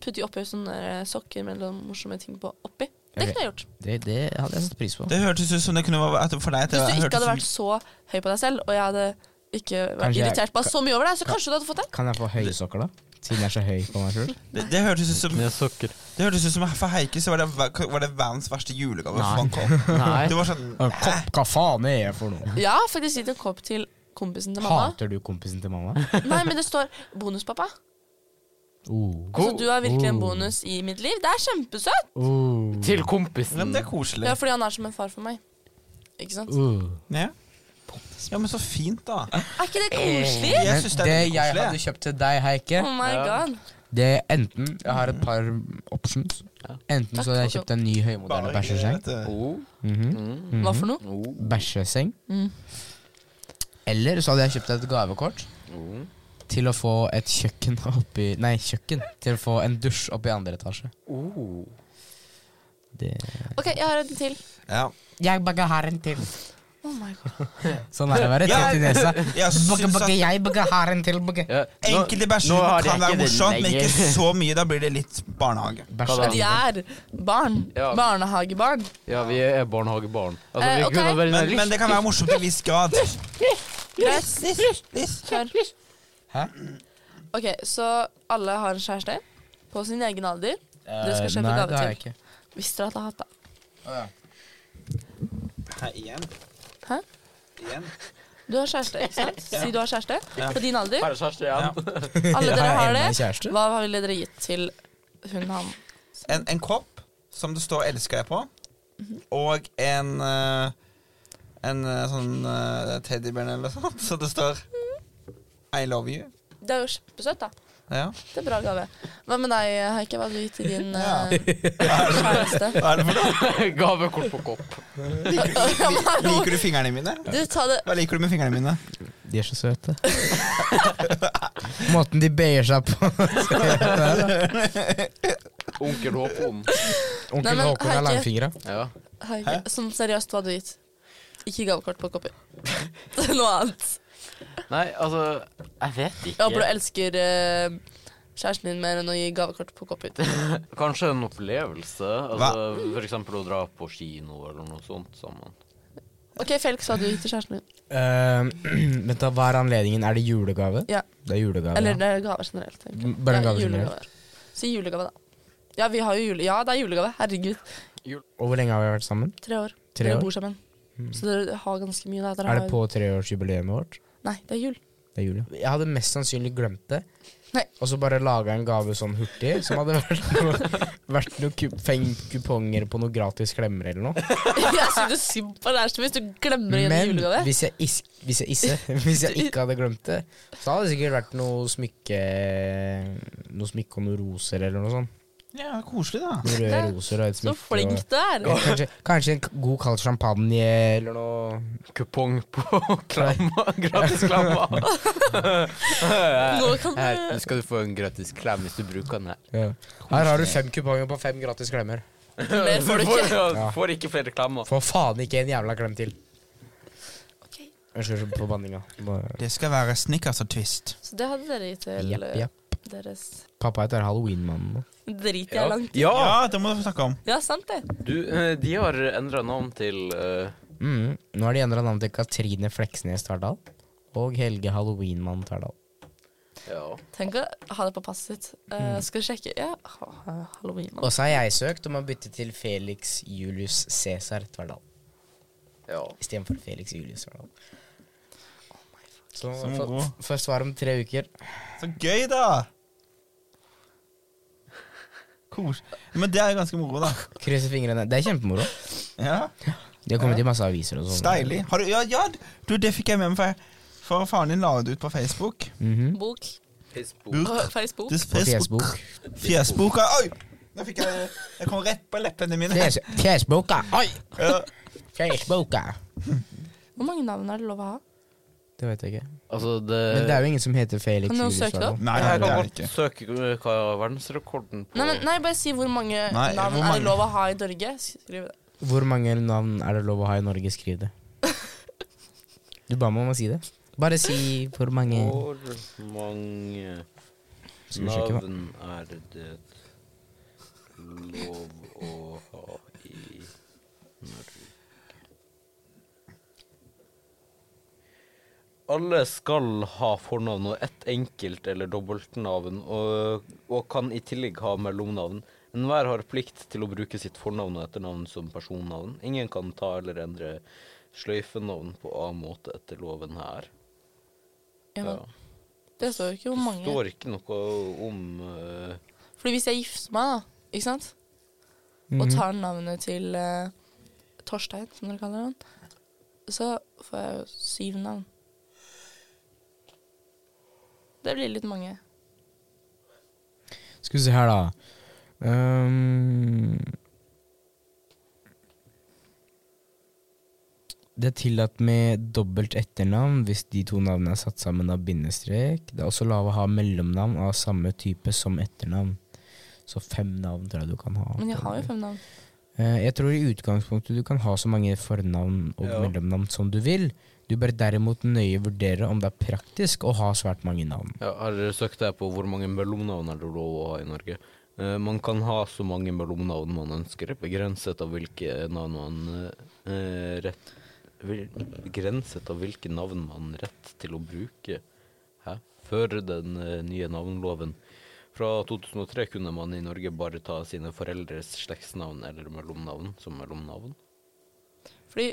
Speaker 4: putte oppi sånne der eh, sokker med noen morsomme ting på oppi. Det
Speaker 5: Ok.
Speaker 4: kunne jeg gjort.
Speaker 5: Det, det hadde jeg satt pris på.
Speaker 2: Det hørtes ut som det kunne være at for deg at det
Speaker 4: Hvis du
Speaker 2: hørtes
Speaker 4: ikke hadde
Speaker 2: som-
Speaker 4: vært så høy på deg selv, og jeg hadde ikke vært
Speaker 5: Kanskje jeg-
Speaker 4: irritert bare så mye over deg, så kanskje du hadde fått det.
Speaker 5: Kan jeg få høye sokker, da? Siden jeg er så høy på meg sjøl.
Speaker 2: Det, det hørtes ut som
Speaker 3: Med sokker.
Speaker 2: Det hørtes ut som for Heike så var det, var det verdens verste julegave.
Speaker 5: Nei.
Speaker 2: for en kopp.
Speaker 3: (laughs) Nei.
Speaker 2: Det var sånn
Speaker 5: Kopp, hva faen er jeg for noe?
Speaker 4: Ja, faktisk gitt en kopp til kompisen til mamma.
Speaker 5: Hater du kompisen til mamma?
Speaker 4: Nei, men det står 'bonuspappa'.
Speaker 5: (laughs) Oh.
Speaker 4: Så Altså, du er virkelig en
Speaker 5: Oh.
Speaker 4: bonus i mitt liv. Det er kjempesøtt!
Speaker 5: Oh.
Speaker 3: Til
Speaker 2: Ja,
Speaker 3: kompisen.
Speaker 2: men det er koselig.
Speaker 4: Ja, fordi han er som en far for meg. Ikke sant?
Speaker 5: Oh.
Speaker 2: Ja. ja, men så fint, da.
Speaker 4: Er ikke det koselig?
Speaker 2: Jeg
Speaker 5: Men
Speaker 2: syns
Speaker 5: det
Speaker 2: det er
Speaker 5: jeg
Speaker 2: veldig
Speaker 5: hadde
Speaker 2: koselig.
Speaker 5: kjøpt til deg, Heike,
Speaker 4: Oh my
Speaker 3: Ja.
Speaker 4: god.
Speaker 5: det er enten Jeg har et par options.
Speaker 3: Ja.
Speaker 5: Enten så
Speaker 4: Takk,
Speaker 5: hadde jeg
Speaker 4: Håkon.
Speaker 5: kjøpt en ny høymoderne bæsjeseng.
Speaker 2: Bare-
Speaker 3: Oh,
Speaker 5: Mhm.
Speaker 3: mm,
Speaker 4: Hva for noe?
Speaker 3: oh,
Speaker 5: Bæsjeseng.
Speaker 4: Mm.
Speaker 5: Eller så hadde jeg kjøpt et gavekort
Speaker 3: oh.
Speaker 2: Mm.
Speaker 5: til å få et kjøkken oppi Nei, kjøkken. Til å få en dusj oppi andre etasje.
Speaker 3: Oh.
Speaker 5: Det
Speaker 4: OK, jeg har en til.
Speaker 2: Ja.
Speaker 5: Jeg bare har en til.
Speaker 4: Oh my god.
Speaker 5: Sånn er det å være tett i nesa.
Speaker 2: Jeg
Speaker 5: Bagge,
Speaker 2: syns
Speaker 5: bagge,
Speaker 2: at
Speaker 5: jeg bagge har en til, bagge.
Speaker 3: Ja, nå-
Speaker 2: enkelte
Speaker 3: nå har
Speaker 2: bæsjer
Speaker 3: jeg
Speaker 2: kan være
Speaker 3: ikke den
Speaker 2: morsomt, men ikke
Speaker 3: lenger.
Speaker 2: så mye. Da blir det litt barnehage.
Speaker 5: Bæsj
Speaker 3: Hva
Speaker 5: er
Speaker 4: De
Speaker 5: livet.
Speaker 4: er barn.
Speaker 3: Ja.
Speaker 4: Barnehagebarn.
Speaker 3: Ja, vi er barnehagebarn. Altså,
Speaker 4: Eh,
Speaker 3: vi
Speaker 4: ok.
Speaker 3: kunne vært
Speaker 2: Men, men det kan være morsomt til en viss grad.
Speaker 4: Greit. Kjør.
Speaker 5: Hæ?
Speaker 4: OK, så alle har en kjæreste på sin egen alder. Du skal kjøpe
Speaker 5: Eh, Nei,
Speaker 4: gave
Speaker 5: det har
Speaker 4: til.
Speaker 5: jeg ikke.
Speaker 4: Hvis dere hadde hatt det.
Speaker 2: Hæ, igjen?
Speaker 4: Hæ?
Speaker 2: Igjen?
Speaker 4: Du har kjæreste, ikke sant?
Speaker 5: (laughs)
Speaker 4: Si du har kjæreste på din alder.
Speaker 3: kjæreste igjen.
Speaker 4: Alle dere har
Speaker 5: enda en
Speaker 4: det.
Speaker 5: kjæreste.
Speaker 4: Hva ville dere gitt til hun, han?
Speaker 2: En, en kopp som det står 'elsker deg' på, og en eh, En eh, sånn uh, teddybjørn eller noe sånt, så det står 'I love you'.
Speaker 4: Det er jo kjempesøtt, da.
Speaker 2: Ja.
Speaker 4: Det er bra gave. Hva med deg, Heike? Hva hadde du gitt til din
Speaker 2: Ja.
Speaker 4: eh, kjæreste?
Speaker 2: (laughs) Hva er det for noe?
Speaker 3: (laughs) Gavekort på kopp.
Speaker 2: Liker du fingrene mine?
Speaker 4: Du, ta det
Speaker 2: Hva liker du med fingrene mine?
Speaker 5: De er så søte. Måten de bøyer seg på.
Speaker 3: Onkel Håkon.
Speaker 5: (laughs) Onkel
Speaker 4: Nei, men,
Speaker 5: Håkon har
Speaker 4: Heike.
Speaker 5: langfingre.
Speaker 3: Ja.
Speaker 4: Heike. Sånn seriøst, hva hadde du gitt? Ikke gavekort på (laughs) kopper. Noe annet.
Speaker 3: Nei, altså Jeg vet
Speaker 4: Jeg håper du
Speaker 3: ikke.
Speaker 4: elsker eh, kjæresten din mer enn å gi gavekort på kopper.
Speaker 3: Kanskje en opplevelse. Altså, for eksempel å dra på kino eller noe sånt sammen.
Speaker 4: OK, Felix, hva hadde du gitt til kjæresten din?
Speaker 5: Eh, (clears throat) vent da, Hva er anledningen? Er det julegave?
Speaker 4: Ja.
Speaker 5: Det er julegave.
Speaker 4: Eller
Speaker 5: ja.
Speaker 4: det er gaver generelt. tenker jeg.
Speaker 5: Bare en
Speaker 4: Ja,
Speaker 5: gave generelt.
Speaker 4: julegaver. Si julegave, da. Ja, vi har jo jule... Ja, det er julegave. Herregud.
Speaker 5: Og hvor lenge har vi vært sammen?
Speaker 4: Tre år.
Speaker 5: Tre
Speaker 4: Dere
Speaker 5: år? Mm.
Speaker 4: bor sammen. Så dere har ganske mye. Da. Dere
Speaker 5: Er
Speaker 4: har
Speaker 5: det
Speaker 4: jo-
Speaker 5: på treårsjubileet vårt?
Speaker 4: Nei, det er jul.
Speaker 5: Det er jul, ja. Jeg hadde mest sannsynlig glemt det.
Speaker 4: Nei.
Speaker 5: Og så bare laga en gave sånn hurtig, som hadde vært noe, (laughs) vært noe ku- feng kuponger på noe gratis klemmer eller noe.
Speaker 4: (laughs) jeg synes synd på deg hvis du glemmer å gi en
Speaker 5: Men
Speaker 4: julegave.
Speaker 5: hvis jeg, is, (laughs) hvis, jeg isse, hvis jeg ikke hadde glemt det, så hadde det sikkert vært noe smykke Noe smykke og noen roser eller noe sånt.
Speaker 2: Ja, koselig, da.
Speaker 5: Noen røde
Speaker 4: Ja,
Speaker 5: roser og et
Speaker 4: Så
Speaker 5: smykke.
Speaker 4: flink du er.
Speaker 5: og, kanskje, kanskje en k- god kald champagne eller noe.
Speaker 3: Kupong på (laughs) klamma. Gratis (laughs) klamma.
Speaker 4: Nå kan du-
Speaker 3: Her skal du få en gratis klem hvis du bruker den her.
Speaker 5: Ja. Her har du fem kuponger på fem gratis klemmer.
Speaker 4: Mer får du ikke.
Speaker 3: Du får ikke flere klammer.
Speaker 5: Få faen ikke en jævla klem til.
Speaker 4: Ok,
Speaker 5: Unnskyld på banninga. Bare-
Speaker 2: Det skal være snickers og twist.
Speaker 4: Så det hadde dere gitt til
Speaker 5: Jepp, jepp.
Speaker 4: deres
Speaker 5: Pappa heter Halloween-mannen nå.
Speaker 4: Drit jeg
Speaker 3: Ja.
Speaker 4: langt.
Speaker 3: ja.
Speaker 2: Ja, det må du få snakke om.
Speaker 4: Ja, sant det.
Speaker 3: Du, eh, de har endra navn til eh,
Speaker 5: Mm. Nå har de endra navn til Katrine Fleksnes Tverdal og Helge Halloween-mann Tverdal.
Speaker 3: Ja.
Speaker 4: Tenk å ha det på passet sitt. Eh, skal sjekke Ja, ha- halloween.
Speaker 5: Og så har jeg søkt om å bytte til Felix Julius Cæsar Tverdal
Speaker 3: ja.
Speaker 5: istedenfor Felix Julius Tverdal. Så
Speaker 2: Så må
Speaker 5: få-
Speaker 2: gå.
Speaker 5: f- får svar om tre uker.
Speaker 2: Så gøy, da! Kos. Men det er ganske moro, da.
Speaker 5: Krysser fingrene. Det er kjempemoro.
Speaker 2: Ja,
Speaker 5: De har kommet i masse aviser og sånn.
Speaker 2: Deilig. Har du, ja, ja, du, det fikk jeg med meg, for, for faren din la det ut på Facebook.
Speaker 5: Mhm.
Speaker 4: Bok.
Speaker 3: Facebook.
Speaker 4: Åh,
Speaker 2: Ut.
Speaker 4: Facebook.
Speaker 2: Det er
Speaker 5: På Facebook.
Speaker 2: Fjesboka. Oi! Nå fikk jeg Jeg kom rett på leppene mine.
Speaker 5: Fjes- Fjesboka! Oi!
Speaker 2: Ja.
Speaker 5: Fjesboka!
Speaker 4: Hvor mange navn er det lov å ha?
Speaker 5: Det vet jeg ikke.
Speaker 3: Altså, det,
Speaker 5: Men det er jo ingen som heter Felix
Speaker 4: Kan noen
Speaker 5: Julius
Speaker 4: søke det
Speaker 5: Tverdal.
Speaker 4: opp?
Speaker 2: Nei,
Speaker 3: Nei, jeg
Speaker 2: det
Speaker 3: kan
Speaker 2: er det
Speaker 3: godt
Speaker 2: ikke.
Speaker 3: søke eh, hva er verdensrekorden på
Speaker 4: Nei, men, nei, bare si hvor mange
Speaker 2: Nei,
Speaker 4: navn
Speaker 2: hvor
Speaker 4: er
Speaker 2: mange?
Speaker 4: det lov å ha i Norge. Skriv det.
Speaker 5: Hvor mange navn er det lov å ha i Norge? Skriv det. Du ba meg om å si det. Bare si hvor mange
Speaker 3: Hvor mange
Speaker 5: Skal vi sjekke, da?
Speaker 3: navn er det lov å ha i Norge? Alle skal ha fornavn og ett enkelt eller dobbeltnavn, og, og kan i tillegg ha mellomnavn. Enhver har plikt til å bruke sitt fornavn og etternavn som personnavn. Ingen kan ta eller endre sløyfenavn på annen måte etter loven her.
Speaker 4: Ja, men
Speaker 3: Ja.
Speaker 4: Det står jo ikke hvor
Speaker 3: Det
Speaker 4: mange.
Speaker 3: står ikke noe om eh,
Speaker 4: Fordi hvis jeg gifter meg, da, ikke sant, og tar navnet til eh, Torstein, som dere kaller han, så får jeg jo syv navn. Det blir litt mange.
Speaker 5: Skal vi se her, da. Ehm, det er tillatt med dobbelt etternavn hvis de to navnene er satt sammen av bindestrek. Det er også lov å ha mellomnavn av samme type som etternavn. Så fem navn tror jeg du kan ha.
Speaker 4: Men jeg har jo fem navn.
Speaker 5: Eh, Jeg tror i utgangspunktet du kan ha så mange fornavn og
Speaker 3: Ja.
Speaker 5: mellomnavn som du vil. Du bør derimot nøye vurdere om det er praktisk å ha svært mange navn.
Speaker 3: ja, Her søkte jeg på hvor mange mellomnavn er det lov å ha i Norge. Eh, man kan ha så mange mellomnavn man ønsker, begrenset av hvilke navn man eh, rett vil, Begrenset av hvilke navn man rett til å bruke. Hæ? Før den eh, nye navnloven. Fra 2003 kunne man i Norge bare ta sine foreldres slektsnavn eller mellomnavn som mellomnavn.
Speaker 4: Fordi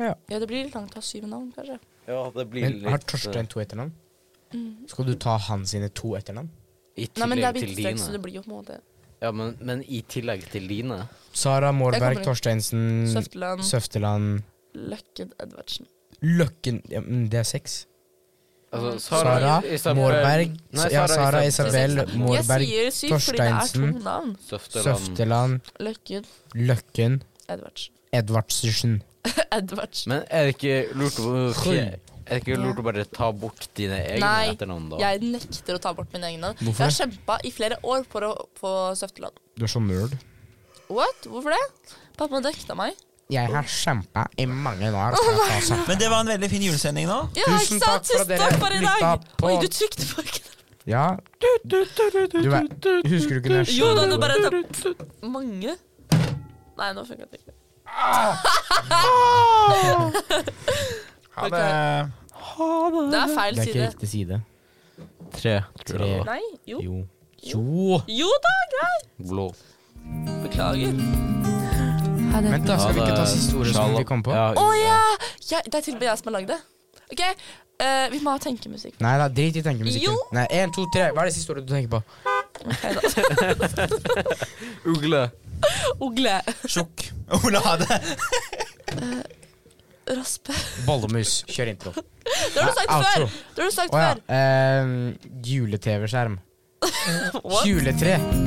Speaker 5: Ja.
Speaker 4: Ja, det blir litt langt å ha syv navn, kanskje.
Speaker 3: Ja, det blir
Speaker 5: Men har
Speaker 3: eh,
Speaker 5: Torstein to etternavn? Skal du ta han sine to etternavn?
Speaker 3: I
Speaker 4: Nei, men det er
Speaker 3: tillegg til
Speaker 4: bindestrek,
Speaker 3: dine.
Speaker 4: så det blir jo på en måte
Speaker 3: Ja, men, men i tillegg til dine
Speaker 5: Sara
Speaker 4: Jeg
Speaker 5: Mårberg,
Speaker 4: kommer-
Speaker 5: Torsteinsen,
Speaker 4: Søfteland,
Speaker 5: Søfteland
Speaker 4: Løkken, Edvardsen.
Speaker 5: Løkken ja, men Det er seks. Mm.
Speaker 3: altså,
Speaker 5: Sara,
Speaker 3: Isabel-
Speaker 5: Mårberg
Speaker 3: Nei,
Speaker 5: Ja, Sara Isabel,
Speaker 4: Isabel.
Speaker 5: Mårberg,
Speaker 4: jeg sier syv fordi det
Speaker 5: Torsteinsen,
Speaker 4: er to navn.
Speaker 3: Søfteland.
Speaker 5: Søfteland,
Speaker 4: Løkken,
Speaker 5: Løkken,
Speaker 4: Edvardsen. (laughs)
Speaker 5: Edvardsen.
Speaker 4: Edvardsen.
Speaker 3: Men er det ikke lurt å
Speaker 5: Sju.
Speaker 3: Er det ikke lurt å bare ta bort dine egne
Speaker 4: Nei,
Speaker 3: etternavn, da?
Speaker 4: Jeg nekter å ta bort mine egne navn. Jeg
Speaker 5: Hvorfor
Speaker 4: har
Speaker 5: det?
Speaker 4: kjempa i flere år for å få Søfteland.
Speaker 5: Du er så nerd.
Speaker 4: What? Hvorfor det? Pappa nekta meg.
Speaker 5: Jeg har kjempa i mange år. for å ta seg-
Speaker 2: Men det var en veldig fin julesending nå.
Speaker 4: Ja,
Speaker 5: Tusen
Speaker 4: ikke sant?
Speaker 5: takk for at
Speaker 4: Tusen
Speaker 5: dere
Speaker 4: takk for i
Speaker 5: lytta
Speaker 4: dag.
Speaker 5: på.
Speaker 4: Oi, du trykte på knappen.
Speaker 5: Ja. Du vet, husker du ikke den
Speaker 4: Jo da, det bare Mange. Nei, nå funka det ikke.
Speaker 2: Ha det.
Speaker 4: Det er feil
Speaker 5: Det er ikke
Speaker 4: side.
Speaker 5: riktig side.
Speaker 3: Tre. tror jeg det var.
Speaker 4: Nei, jo.
Speaker 5: Jo. Jo!
Speaker 4: Jo da, greit.
Speaker 3: Blå.
Speaker 4: Beklager.
Speaker 5: Vent, da. Skal vi ikke ta siste ordet som vi kom på?
Speaker 3: Ja,
Speaker 4: Å ja! Jeg- Det er til og med jeg som har lagd det. OK, eh, vi må ha tenkemusikk.
Speaker 5: Nei da, drit i tenkemusikken.
Speaker 4: Jo.
Speaker 5: Nei, en, to, tre. Hva er det siste ordet du tenker på?
Speaker 4: Ok, da.
Speaker 3: Ugle.
Speaker 4: Ugle.
Speaker 2: Sjokk. Ola ha det.
Speaker 4: Raspe.
Speaker 5: Bollemus. Kjør intro. Å
Speaker 4: Det har du sagt
Speaker 5: Nei,
Speaker 4: før.
Speaker 5: outro.
Speaker 4: Det har du sagt
Speaker 5: ja.
Speaker 4: før.
Speaker 5: Eh, Jule-TV-skjerm.
Speaker 4: What?
Speaker 5: Juletre.